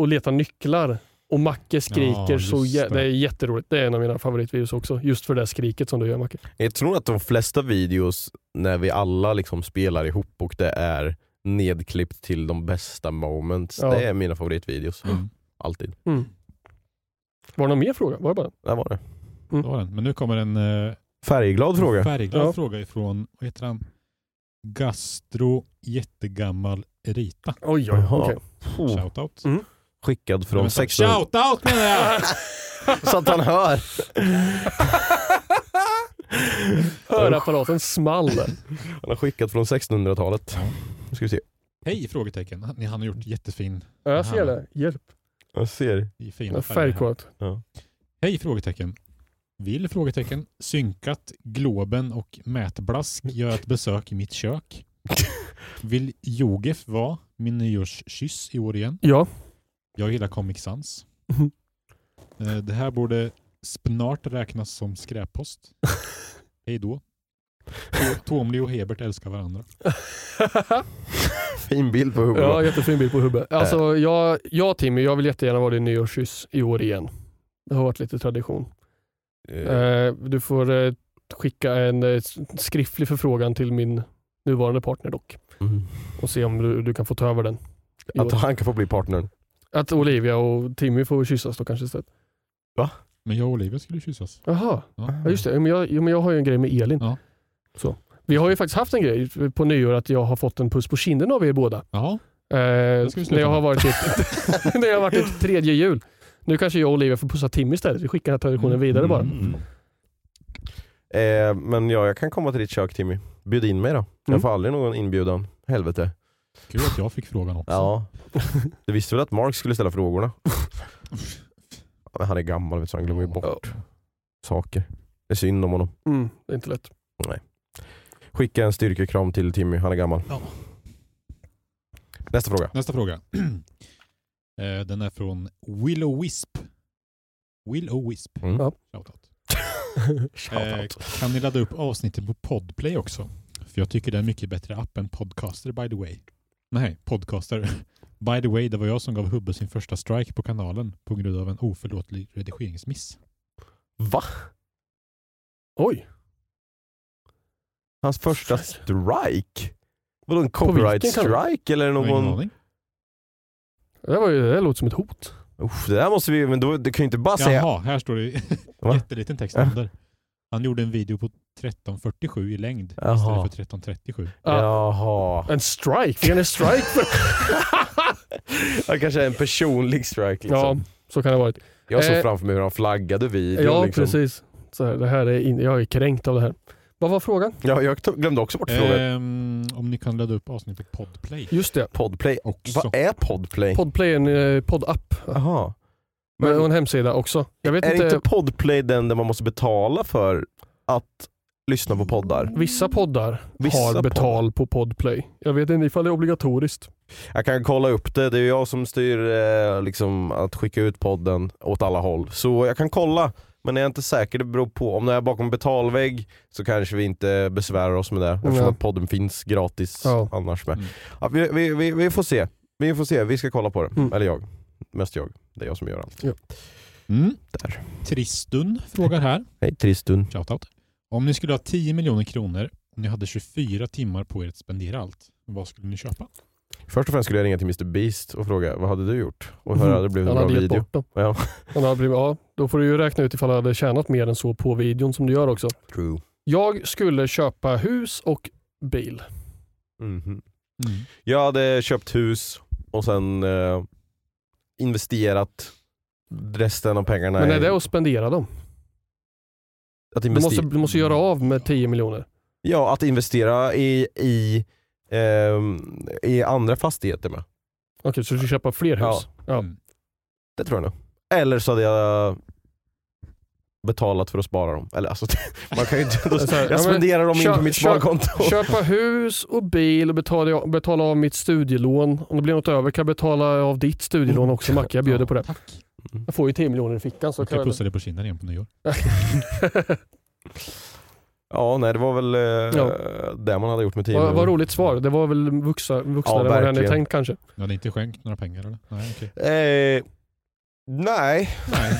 Speaker 2: och letar nycklar. Och Macke skriker
Speaker 3: Ja,
Speaker 2: så
Speaker 3: just
Speaker 2: jä-
Speaker 3: det.
Speaker 2: det är jätteroligt. Det är en av mina favoritvideos också. Just för det där skriket som du gör Macke.
Speaker 1: Jag tror att de flesta videos när vi alla liksom spelar ihop och det är nedklippt till de bästa moments,
Speaker 2: Ja.
Speaker 1: det är mina favoritvideos.
Speaker 3: Mm.
Speaker 1: Alltid.
Speaker 2: Var det någon mer fråga? Var det bara den?
Speaker 1: Där var det.
Speaker 3: Det var den. Men nu kommer en eh,
Speaker 1: Färgglad fråga.
Speaker 3: färgglad
Speaker 2: Ja.
Speaker 3: fråga ifrån, vad heter han? Gastro jättegammal Rita.
Speaker 2: Oj, oj, oj.
Speaker 1: Jaha.
Speaker 2: Okej.
Speaker 1: Oh,
Speaker 3: Shoutout.
Speaker 1: skickad
Speaker 3: Nej, men
Speaker 1: från
Speaker 3: så-
Speaker 1: 16...
Speaker 3: Shoutout menar jag! <laughs>
Speaker 1: Så att han hör.
Speaker 2: Hörapparaten small.
Speaker 1: Han har skickat från 1600-talet. Nu ska vi se.
Speaker 3: Hej? Frågetecken. Han, han har gjort jättefin,
Speaker 2: Ja, jag ser det. Hjälp.
Speaker 1: Jag ser.
Speaker 3: fina färger. här.
Speaker 2: Färgkort.
Speaker 3: Hej? Frågetecken. Vill? Frågetecken. Synkat Globen och Mätblask gör ett besök i mitt kök. Vill Jogef vara min nyårskyss i år igen?
Speaker 2: Ja.
Speaker 3: Jag gillar Comic Sans.
Speaker 2: Mhm.
Speaker 3: Eh, Det här borde snart räknas som skräppost. Hej då. To- Tomli och Hebert älskar varandra.
Speaker 1: Fin bild på huvudet. Äh.
Speaker 2: ja, jättefin bild på Hubbe. Alltså, jag, jag Timmy, jag vill jättegärna vara din nyårskyss i år igen. Det har varit lite tradition.
Speaker 1: Eh,
Speaker 2: Eh, du får eh, skicka en eh, skriftlig förfrågan till min nuvarande partner dock
Speaker 1: mm.
Speaker 2: och se om du, du kan få ta över den. i
Speaker 1: Att
Speaker 2: år.
Speaker 1: han kan få bli partnern.
Speaker 2: Att Olivia och Timmy får kyssas då kanske istället.
Speaker 3: Men jag och Olivia skulle kyssas.
Speaker 2: Jaha,
Speaker 3: Ja.
Speaker 2: ja, just det. Men jag, jo, men jag har ju en grej med Elin.
Speaker 3: Ja.
Speaker 2: Så. Vi har ju faktiskt haft en grej på nyår att jag har fått en puss på kinden av er båda.
Speaker 3: Jaha.
Speaker 2: Eh,
Speaker 3: ska vi
Speaker 2: när
Speaker 3: sluta
Speaker 2: jag har
Speaker 3: med.
Speaker 2: varit i ett, <laughs> när jag har varit i ett tredje jul. Nu kanske jag och Olivia får pussa Tim istället. Vi skickar den här traditionen
Speaker 1: Mm.
Speaker 2: vidare bara.
Speaker 1: Eh, men ja, jag kan komma till ditt kök Timmy. Bjud in mig då.
Speaker 2: Mm.
Speaker 1: Jag får aldrig någon inbjudan. Helvete.
Speaker 3: Kul att jag fick frågan också.
Speaker 1: Ja. Du visste väl att Mark skulle ställa frågorna? Ja, Men han är gammal vet du, så han glömmer ju bort saker. Det är synd om honom.
Speaker 2: Mm, det är inte lätt.
Speaker 1: Skicka en styrkekram till Timmy, han är gammal.
Speaker 3: Ja.
Speaker 1: Nästa fråga.
Speaker 3: Nästa fråga. <clears throat> Eh, Den är från Will o Wisp. Will o Wisp.
Speaker 1: Mm. <laughs>
Speaker 2: Ja.
Speaker 3: Shoutout. Eh,
Speaker 1: Shoutout.
Speaker 3: kan ni ladda upp avsnittet på Podplay också? För jag tycker det är en mycket bättre app än Podcaster by the way. Nej, Podcaster. <laughs> By the way, det var jag som gav Hubbe sin första strike på kanalen på grund av en oförlåtlig redigeringsmiss.
Speaker 1: Va?
Speaker 2: Oj,
Speaker 1: Hans första strike? Vadå en
Speaker 2: På
Speaker 1: copyright
Speaker 2: vilken kanal?
Speaker 1: strike eller
Speaker 3: Jag har ingen
Speaker 1: någon...
Speaker 3: aning.
Speaker 2: det, där var ju, det där låter som ett hot.
Speaker 1: Uff, det där måste vi men då, du kan ju inte bara säga...
Speaker 3: Jaha, här står det
Speaker 1: Va?
Speaker 3: <laughs> jätteliten text under. Han gjorde en video på 1347 i längd
Speaker 1: Jaha.
Speaker 3: istället för 1337.
Speaker 1: Jaha.
Speaker 2: <laughs> En strike, fick han en strike? För...
Speaker 1: <laughs> Ja, kanske en personlig strike
Speaker 2: ja,
Speaker 1: liksom.
Speaker 2: så kan det ha varit.
Speaker 1: Jag såg
Speaker 2: Eh,
Speaker 1: framför mig hur han flaggade videon.
Speaker 2: Ja,
Speaker 1: liksom.
Speaker 2: precis. Så här, det här är in... Jag är kränkt av det här. Vad var frågan?
Speaker 1: Ja, jag to- glömde också bort frågan.
Speaker 3: Ehm, om ni kan ladda upp avsnittet på Podplay
Speaker 2: Just det,
Speaker 1: Podplay.
Speaker 3: också.
Speaker 1: Vad är Podplay?
Speaker 2: Podplay är en eh, poddapp
Speaker 1: Jaha. Men,
Speaker 2: men... och en hemsida också. Jag vet
Speaker 1: är
Speaker 2: inte,
Speaker 1: inte Podplay den där man måste betala för att lyssna på poddar?
Speaker 2: vissa poddar
Speaker 1: Vissa
Speaker 2: har
Speaker 1: poddar.
Speaker 2: betal på Podplay. Jag vet inte ifall det är obligatoriskt.
Speaker 1: Jag kan kolla upp det. Det är ju jag som styr eh, liksom, att skicka ut podden åt alla håll. Så jag kan kolla, men jag är inte säker. Det beror på. Om det är bakom betalvägg så kanske vi inte besvärar oss med det. Eftersom
Speaker 2: Nej.
Speaker 1: att podden finns gratis
Speaker 2: Ja.
Speaker 1: annars med.
Speaker 3: Mm.
Speaker 1: Ja, vi, vi, vi, vi får se. Vi får se, vi ska kolla på det.
Speaker 2: Mm.
Speaker 1: Eller jag. Mest jag. Det är jag som gör allt.
Speaker 3: Mm.
Speaker 1: Där.
Speaker 3: Tristun frågar här.
Speaker 1: Hej Tristun.
Speaker 3: Shoutout. Om ni skulle ha 10 miljoner kronor och ni hade 24 timmar på er att spendera allt, vad skulle ni köpa?
Speaker 1: Först och främst skulle jag ringa till Mr Beast och fråga vad hade du gjort? Och hur
Speaker 2: Mm.
Speaker 1: hade det blivit en
Speaker 2: Han
Speaker 1: bra
Speaker 2: hade gett
Speaker 1: video?
Speaker 2: bort dem.
Speaker 1: Ja.
Speaker 2: Han hade blivit, ja, då får du ju räkna ut ifall han hade tjänat mer än så på videon som du gör också.
Speaker 1: True.
Speaker 2: Jag skulle köpa hus och bil.
Speaker 1: Mhm.
Speaker 3: Mm.
Speaker 1: Jag hade köpt hus och sen eh, investerat resten av pengarna
Speaker 2: Men är
Speaker 1: i-
Speaker 2: det att spendera dem?
Speaker 1: att
Speaker 2: Du
Speaker 1: investera.
Speaker 2: måste, du måste göra av med 10 miljoner.
Speaker 1: Ja, att investera i, i, ehm, i andra fastigheter med.
Speaker 2: Okej, så du ska köpa fler hus?
Speaker 1: Ja.
Speaker 2: Ja.
Speaker 3: Mm.
Speaker 1: Det tror jag nog. Eller så hade jag betalat för att spara dem. Eller alltså, <laughs> man kan ju
Speaker 2: <laughs>
Speaker 1: inte, då,
Speaker 2: Så här, Alltså, ja, men
Speaker 1: jag spenderar dem in
Speaker 2: kö-
Speaker 1: på mitt
Speaker 2: kö-
Speaker 1: sparkonto.
Speaker 2: Köpa hus och bil och betala, betala av mitt studielån. Om det blir något över kan jag betala av ditt studielån också Macke. Jag bjuder på det.
Speaker 3: Tack.
Speaker 2: Jag får ju 10 miljoner i fickan. Så
Speaker 3: Jag
Speaker 2: kan
Speaker 3: kan
Speaker 2: jag...
Speaker 3: plussa dig på kinden igen på nyår.
Speaker 1: <laughs>
Speaker 2: <laughs>
Speaker 1: Ja, nej det var väl eh, det man hade gjort med 10
Speaker 2: Vad, vad
Speaker 1: miljoner.
Speaker 2: roligt svar. Det var väl vuxna,
Speaker 1: Ja,
Speaker 2: vuxnare än vad jag hade
Speaker 1: verkligen.
Speaker 2: tänkt kanske.
Speaker 3: Du hade inte skänkt några pengar eller? Nej,
Speaker 2: <laughs>
Speaker 3: okej.
Speaker 1: Eh, nej.
Speaker 3: Nej.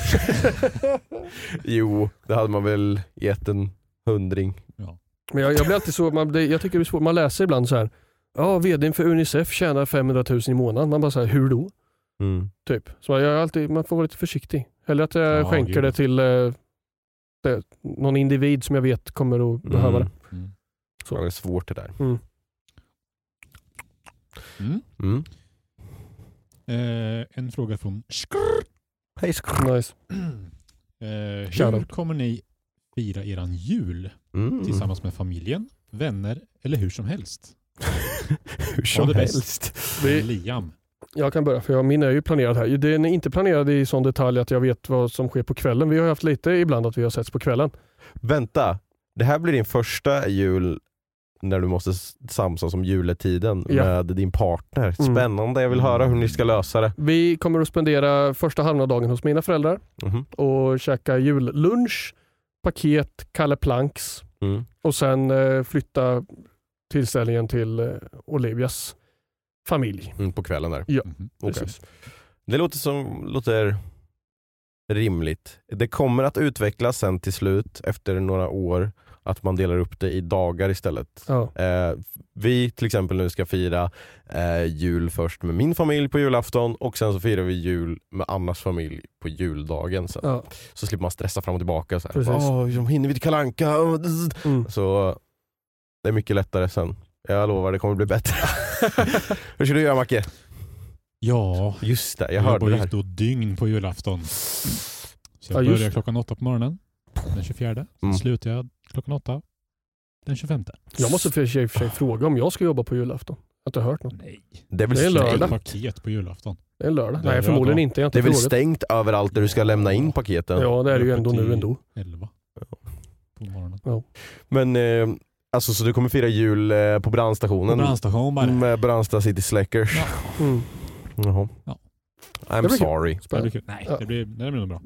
Speaker 1: <laughs> Jo, det hade man väl gett en hundring.
Speaker 2: Men jag, jag blir alltid så, man, det, jag tycker det är svårt, man läser ibland så här. Ja, vdn för Unicef tjänar 500 000 i månaden. Man bara så här, hur då?
Speaker 1: Mm.
Speaker 2: Typ. Så jag är alltid, man får vara lite försiktig. Eller att jag
Speaker 3: Ja,
Speaker 2: skänker
Speaker 3: gud.
Speaker 2: det till eh, det, någon individ som jag vet kommer att behöva det.
Speaker 3: Mm.
Speaker 1: Så. Det är svårt det där.
Speaker 3: Mm.
Speaker 1: Mm.
Speaker 3: Eh, en fråga från Skrrr.
Speaker 1: Hej
Speaker 2: Nice.
Speaker 3: <clears throat> eh, Hur
Speaker 2: Shoutout.
Speaker 3: kommer ni fira eran jul
Speaker 1: mm.
Speaker 3: tillsammans med familjen, vänner eller hur som helst?
Speaker 1: <laughs> Hur som
Speaker 3: det är bäst.
Speaker 1: helst.
Speaker 2: Vi-
Speaker 3: Liam.
Speaker 2: Jag kan börja för jag, min är ju planerad här. Den är inte planerad i sån detalj att jag vet vad som sker på kvällen. Vi har ju haft lite ibland att vi har setts på kvällen.
Speaker 1: Vänta, det här blir din första jul när du måste s- samsas om juletiden
Speaker 2: Ja.
Speaker 1: med din partner.
Speaker 2: Mm.
Speaker 1: Spännande, jag vill höra hur ni ska
Speaker 3: Mm.
Speaker 1: lösa det.
Speaker 2: Vi kommer att spendera första halva dagen hos mina föräldrar
Speaker 1: Mhm.
Speaker 2: och käka jullunch, paket, Kalle Planks
Speaker 1: Mm.
Speaker 2: och sen eh, flytta tillställningen till eh, Olivias familj.
Speaker 1: Mm, på kvällen där.
Speaker 3: Mhm.
Speaker 1: Okej.
Speaker 2: Precis.
Speaker 1: Det låter som låter rimligt. Det kommer att utvecklas sen till slut efter några år att man delar upp det i dagar istället.
Speaker 2: Ja.
Speaker 1: Eh, vi till exempel nu ska fira eh, jul först med min familj på julafton och sen så firar vi jul med Annas familj på juldagen sen.
Speaker 2: Ja.
Speaker 1: Så slipper man stressa fram och tillbaka. Så här.
Speaker 2: Precis.
Speaker 1: Åh, hur hinner vi till Kalle Anka? Åh, zzz.
Speaker 2: Mm.
Speaker 1: Så det är mycket lättare sen. Jag lovar, det kommer bli bättre. Hur ska du göra Macke?
Speaker 3: Ja,
Speaker 1: Just det, jag,
Speaker 3: jag
Speaker 1: hörde
Speaker 3: jobbar
Speaker 1: det
Speaker 3: ju
Speaker 1: här.
Speaker 3: då dygn på julafton.
Speaker 2: Ja,
Speaker 3: Så jag
Speaker 2: just
Speaker 3: börjar
Speaker 2: det.
Speaker 3: klockan åtta på morgonen den 24. Sen
Speaker 1: Mm.
Speaker 3: slutar jag klockan åtta den 25.
Speaker 2: Jag måste för sig, för sig fråga om jag ska jobba på julafton. Jag har inte hört något.
Speaker 3: Nej.
Speaker 1: Det är väl
Speaker 2: Det är
Speaker 3: Jag har
Speaker 1: stängt,
Speaker 2: lördag.
Speaker 3: ett paket på julafton.
Speaker 2: Det är en lördag.
Speaker 3: Det är
Speaker 2: Nej,
Speaker 3: röd
Speaker 2: förmodligen
Speaker 3: dag.
Speaker 2: inte. Jag har
Speaker 1: det är
Speaker 2: inte
Speaker 1: väl
Speaker 2: frågat.
Speaker 1: stängt överallt där du ska lämna in paketen.
Speaker 2: Ja, det är det ju
Speaker 3: Uppe
Speaker 2: ändå nu
Speaker 3: till
Speaker 2: ändå.
Speaker 3: elva på morgonen.
Speaker 1: Men eh, alltså, så du kommer fira jul eh, på
Speaker 3: På
Speaker 1: brandstationen?
Speaker 3: brandstation bara.
Speaker 1: med Brandsta City Släckers?
Speaker 2: <laughs>
Speaker 3: Ja.
Speaker 2: Mm.
Speaker 1: Jaha.
Speaker 3: Ja.
Speaker 1: I'm
Speaker 2: blir kul.
Speaker 1: sorry.
Speaker 3: Det
Speaker 2: Spännande.
Speaker 3: blir kul. Nej,
Speaker 2: Ja.
Speaker 3: det blir, det blir nog bra.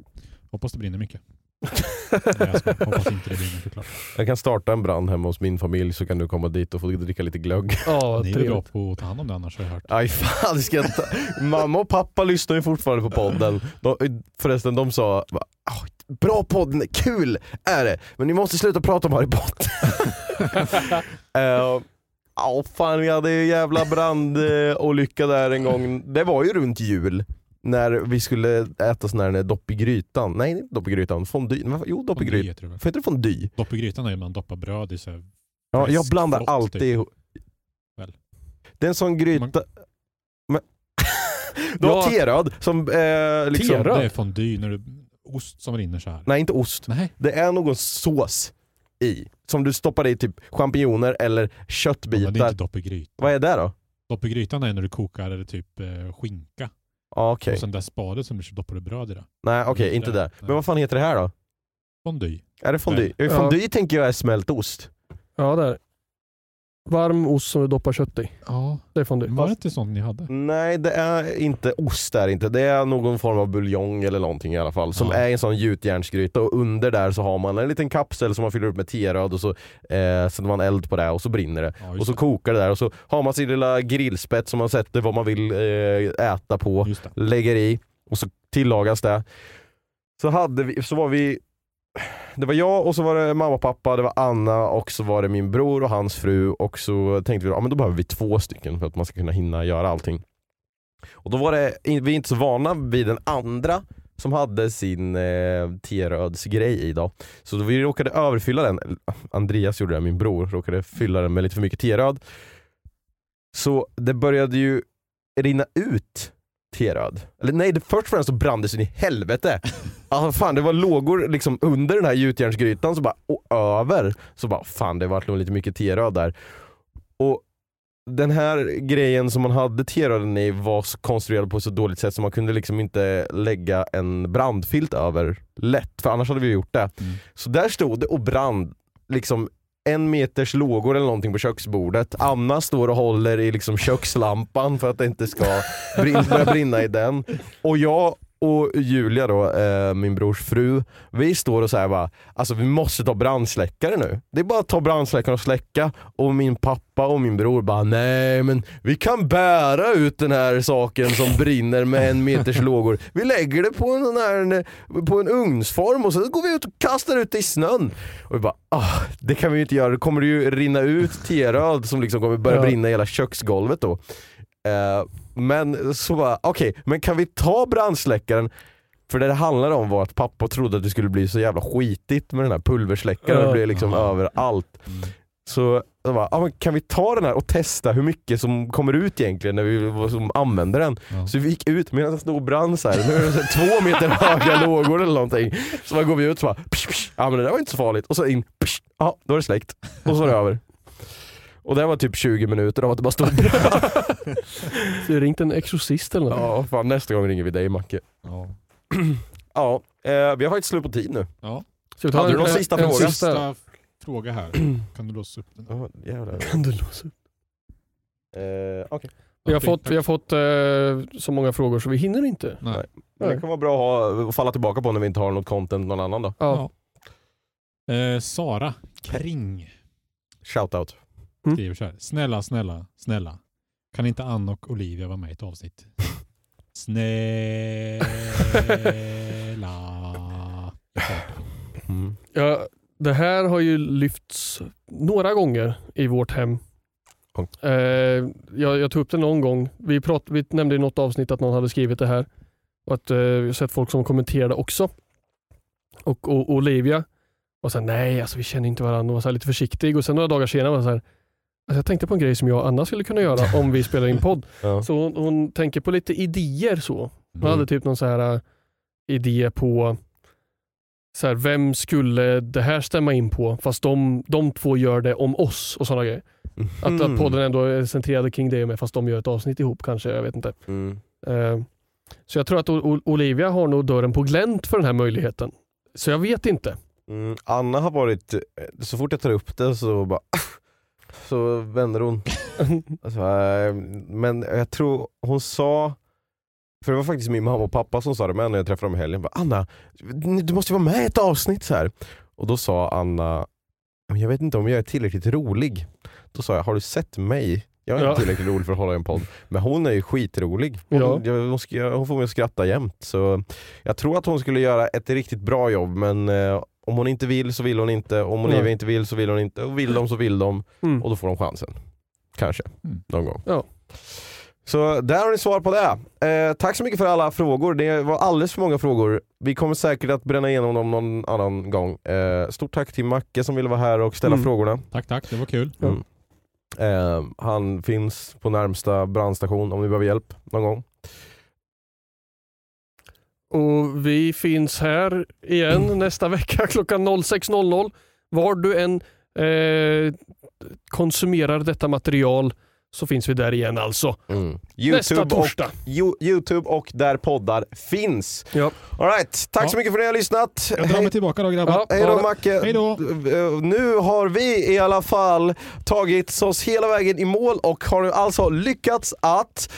Speaker 3: Hoppas det brinner mycket. Nej, jag skojar. Hoppas inte det brinner såklart.
Speaker 1: Jag kan starta en brand hemma hos min familj så kan du komma dit och få dricka lite glögg.
Speaker 2: Ja,
Speaker 3: Ni är väl bra
Speaker 2: trevligt.
Speaker 3: på att ta hand om det annars har jag hört.
Speaker 1: Aj fan, det ska jag ta... mamma och pappa lyssnar ju fortfarande på podden. De, förresten, de sa bara, "Ah, Bra podd, kul är det, men ni måste sluta prata om Harry Potter. Eh, Ja fan, vi hade ju jävla brandolycka där en gång. Det var ju runt jul. När vi skulle äta sån här dopp i grytan. Nej, inte dopp i grytan. Fondue. Men vad- Jo, dopp i
Speaker 3: Fondue
Speaker 1: grytan.
Speaker 3: heter det väl?
Speaker 1: Får heter det fondy?
Speaker 3: Dopp i grytan är ju man doppar bröd i så här
Speaker 1: Ja, jag
Speaker 3: Fläsk,
Speaker 1: blandar
Speaker 3: flott,
Speaker 1: alltid
Speaker 3: typ.
Speaker 1: ihop.
Speaker 3: Väl.
Speaker 1: Det är en sån gryta... Men... du har
Speaker 2: Ja.
Speaker 1: teröd som eh, liksom...
Speaker 2: Teröd?
Speaker 3: Det är fondue när du... Ost som rinner så här.
Speaker 1: Nej, inte ost.
Speaker 3: Nej.
Speaker 1: Det är någon sås i. Som du stoppar i typ champinjoner eller
Speaker 3: Men det är
Speaker 1: köttbitar.
Speaker 3: inte dopp i grytan.
Speaker 1: Vad är det då?
Speaker 3: Dopp i grytan är när du kokar eller typ eh, skinka.
Speaker 1: Ja, okej.
Speaker 3: Och sen det här spadet som du så doppar du bröd i det.
Speaker 1: Nej, okej,
Speaker 3: inte
Speaker 1: inte
Speaker 3: det.
Speaker 1: där.
Speaker 3: Nej.
Speaker 1: Men vad fan heter det här då?
Speaker 3: Fondue.
Speaker 1: Är det fondue?
Speaker 3: Nej.
Speaker 1: Ja. Fondue tänker jag är smältost.
Speaker 2: Ja, där. Varm ost som du doppar kött i.
Speaker 3: Ja.
Speaker 2: Det är fondue.
Speaker 3: Var det inte sånt ni hade?
Speaker 1: Nej, det är inte ost där inte. Det är någon form av buljong eller någonting i alla fall. Som
Speaker 3: Ja.
Speaker 1: är en sån gjutjärnsgryta och under där så har man en liten kapsel som man fyller upp med teröd och så eh, sätter man eld på det och så brinner det.
Speaker 3: Ja, just
Speaker 1: och så
Speaker 3: det.
Speaker 1: kokar det där och så har man sin lilla grillspett som man sätter vad man vill eh, äta på.
Speaker 3: Just det.
Speaker 1: lägger i och så tillagas det. Så, hade vi, så var vi, det var jag och så var det mamma och pappa, det var Anna och så var det min bror och hans fru och så tänkte vi att ja, men då behöver vi två stycken för att man ska kunna hinna göra allting. Och då var det, vi är inte så vana vid den andra som hade sin eh, T-rödsgrej i då. Så då vi råkade överfylla den, Andreas gjorde det, min bror, råkade fylla den med lite för mycket T-röd. Så det började ju rinna ut T-röd. Eller nej, det, först och främst så brann det så in i helvete. <laughs> Alltså fan, det var lågor liksom under den här gjutjärnsgrytan så bara, och över. Så bara, fan det vart nog lite mycket T-röd där. Och den här grejen som man hade T-röden i var så konstruerad på ett så dåligt sätt så man kunde liksom inte lägga en brandfilt över lätt, för annars hade vi gjort det.
Speaker 3: Mm.
Speaker 1: Så där stod det och brann liksom en meters lågor eller någonting på köksbordet. Anna står och håller i liksom kökslampan för att det inte ska brin- börja brinna i
Speaker 3: Mm.
Speaker 1: den. Och jag och Julia då, eh, min brors fru, vi står och säger bara, alltså vi måste ta brandsläckare nu. Det är bara att ta brandsläckaren och släcka. Och min pappa och min bror bara, nej men vi kan bära ut den här saken som brinner med en meters lågor. Vi lägger det på en, sån här, på en ugnsform och så går vi ut och kastar ut det i snön. Och vi bara, ah, det kan vi ju inte göra. Då kommer det ju rinna ut T-röd som liksom kommer börja
Speaker 2: Ja.
Speaker 1: brinna i hela köksgolvet då. Eh, men så bara, okej, men kan vi ta brandsläckaren? För det det handlade om var att pappa trodde att det skulle bli så jävla skitigt med den här pulversläckaren.
Speaker 2: Ja.
Speaker 1: Det blev liksom
Speaker 3: Ja.
Speaker 1: överallt.
Speaker 3: Mm.
Speaker 1: Så jag bara, ah, men kan vi ta den här och testa hur mycket som kommer ut egentligen när vi vad som använder den?
Speaker 3: Ja.
Speaker 1: Så vi gick ut medan den stod och brann så här. Nu är det så här två meter höga lågor eller någonting. Så bara går vi ut och bara, psh, psh. ja men det där var inte så farligt. Och så in, psh, ja då är det släckt. Och så är det över. Och det var typ 20 minuter av att det bara stod och brann.
Speaker 2: Så det är eh, ringt en exorcist eller något.
Speaker 1: Ja, fan, nästa gång ringer vi dig Macke.
Speaker 3: Ja.
Speaker 1: Ja, eh, vi har faktiskt slut på tid nu.
Speaker 3: ja.
Speaker 2: Ska vi ta
Speaker 1: Hade
Speaker 2: en-
Speaker 1: du någon
Speaker 2: Eh, en-
Speaker 1: sista
Speaker 2: en
Speaker 1: fråga?
Speaker 2: sista?
Speaker 3: Sista
Speaker 1: <clears throat>
Speaker 3: fråga här. Kan du låsa upp den?
Speaker 1: Oh, jävlar.
Speaker 2: Kan du låsa upp?
Speaker 1: Eh, Okej,
Speaker 2: Vi har
Speaker 3: Okej,
Speaker 2: fått,
Speaker 3: tack.
Speaker 2: vi har fått eh, så många frågor så vi hinner inte.
Speaker 3: Nej.
Speaker 1: Men det kan vara bra att ha, att falla tillbaka på när vi inte har något content någon annan då.
Speaker 2: Ja.
Speaker 3: Eh, Sara
Speaker 1: Mm.
Speaker 3: Kring
Speaker 1: Shoutout.
Speaker 3: skriver så här. Snälla, snälla, snälla. Kan inte Ann och Olivia vara med i
Speaker 1: <laughs>
Speaker 3: ett avsnitt? Snälla.
Speaker 1: Mm.
Speaker 2: Ja, det här har ju lyfts några gånger i vårt hem.
Speaker 1: Ja.
Speaker 2: Eh, jag, jag tog upp det någon gång. Vi, prat, vi nämnde i något avsnitt att någon hade skrivit det här. Och att eh, vi har sett folk som kommenterade också. Och, och, och Olivia var så här, nej alltså vi känner inte varandra. Och var så här, lite försiktig. Och sen några dagar senare var så här, alltså, jag tänkte på en grej som jag och Anna skulle kunna göra om vi spelar in podd.
Speaker 1: Ja.
Speaker 2: Så hon, hon tänker på lite idéer så. Hon
Speaker 3: Mm.
Speaker 2: hade typ någon så här äh, idé på så här, vem skulle det här stämma in på fast de, de två gör det om oss och sådana grejer. Att,
Speaker 1: Mm.
Speaker 2: att podden ändå är centrerad kring det med fast de gör ett avsnitt ihop kanske, jag vet inte.
Speaker 1: Mm.
Speaker 2: Eh, Så jag tror att O- O- Olivia har nog dörren på glänt för den här möjligheten. Så jag vet inte. <laughs>
Speaker 1: Mm. Anna har varit, så fort jag tar upp det så bara <laughs> så vänder hon. Alltså, eh, men jag tror hon sa, för det var faktiskt min mamma och pappa som sa det med henne när jag träffade dem i helgen. Bara, Anna, du måste ju vara med i ett avsnitt så här. Och då sa Anna, "Men jag vet inte om jag är tillräckligt rolig. Då sa jag, har du sett mig? Jag är
Speaker 2: Ja.
Speaker 1: inte tillräckligt rolig för att hålla i en podd. Men hon är ju skitrolig. Hon,
Speaker 2: Ja.
Speaker 1: jag, hon, ska, hon får mig att skratta jämt. Så jag tror att hon skulle göra ett riktigt bra jobb men eh, om hon inte vill så vill hon inte, om hon
Speaker 2: Nej.
Speaker 1: inte vill så vill hon inte, och vill de så vill de.
Speaker 2: Mm.
Speaker 1: Och då får de chansen. Kanske.
Speaker 3: Mm.
Speaker 1: Någon gång.
Speaker 2: Ja.
Speaker 1: Så där har ni svar på det. Eh, tack så mycket för alla frågor. Det var alldeles för många frågor. Vi kommer säkert att bränna igenom dem någon annan gång. Eh, stort tack till Macke som ville vara här och ställa
Speaker 2: Mm.
Speaker 1: frågorna.
Speaker 3: Tack, tack. Det var kul.
Speaker 2: Ja.
Speaker 1: Mm. Eh, han finns på närmsta brandstation om ni behöver hjälp någon gång.
Speaker 2: Och vi finns här
Speaker 1: <clears throat>
Speaker 2: igen nästa vecka klockan 06.00. Var du än eh, konsumerar detta material så finns vi där igen alltså. Nästa
Speaker 1: YouTube, och,
Speaker 2: torsdag.
Speaker 1: Yo- YouTube och där poddar finns.
Speaker 2: Ja.
Speaker 1: All right, tack
Speaker 3: Ja.
Speaker 1: så mycket för att ni har lyssnat.
Speaker 3: Jag drar
Speaker 1: Hej-
Speaker 3: mig tillbaka då grabbar.
Speaker 2: Ja.
Speaker 1: Hej då
Speaker 2: det.
Speaker 1: Macke!
Speaker 3: Hej då.
Speaker 1: Eh, Nu har vi i alla fall tagit oss hela vägen i mål och har nu alltså lyckats att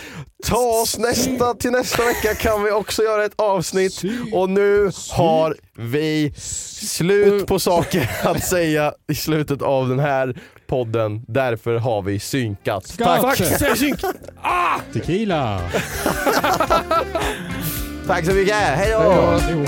Speaker 1: ta oss nästa, till nästa vecka kan vi också göra ett avsnitt och nu har vi slut på saker att säga i slutet av den här podden. Därför har vi synkat. Tack,
Speaker 3: Gotcha.
Speaker 2: Fuck, särskilt.
Speaker 3: Tequila!
Speaker 1: tack så mycket! Hej då!
Speaker 3: Hej då.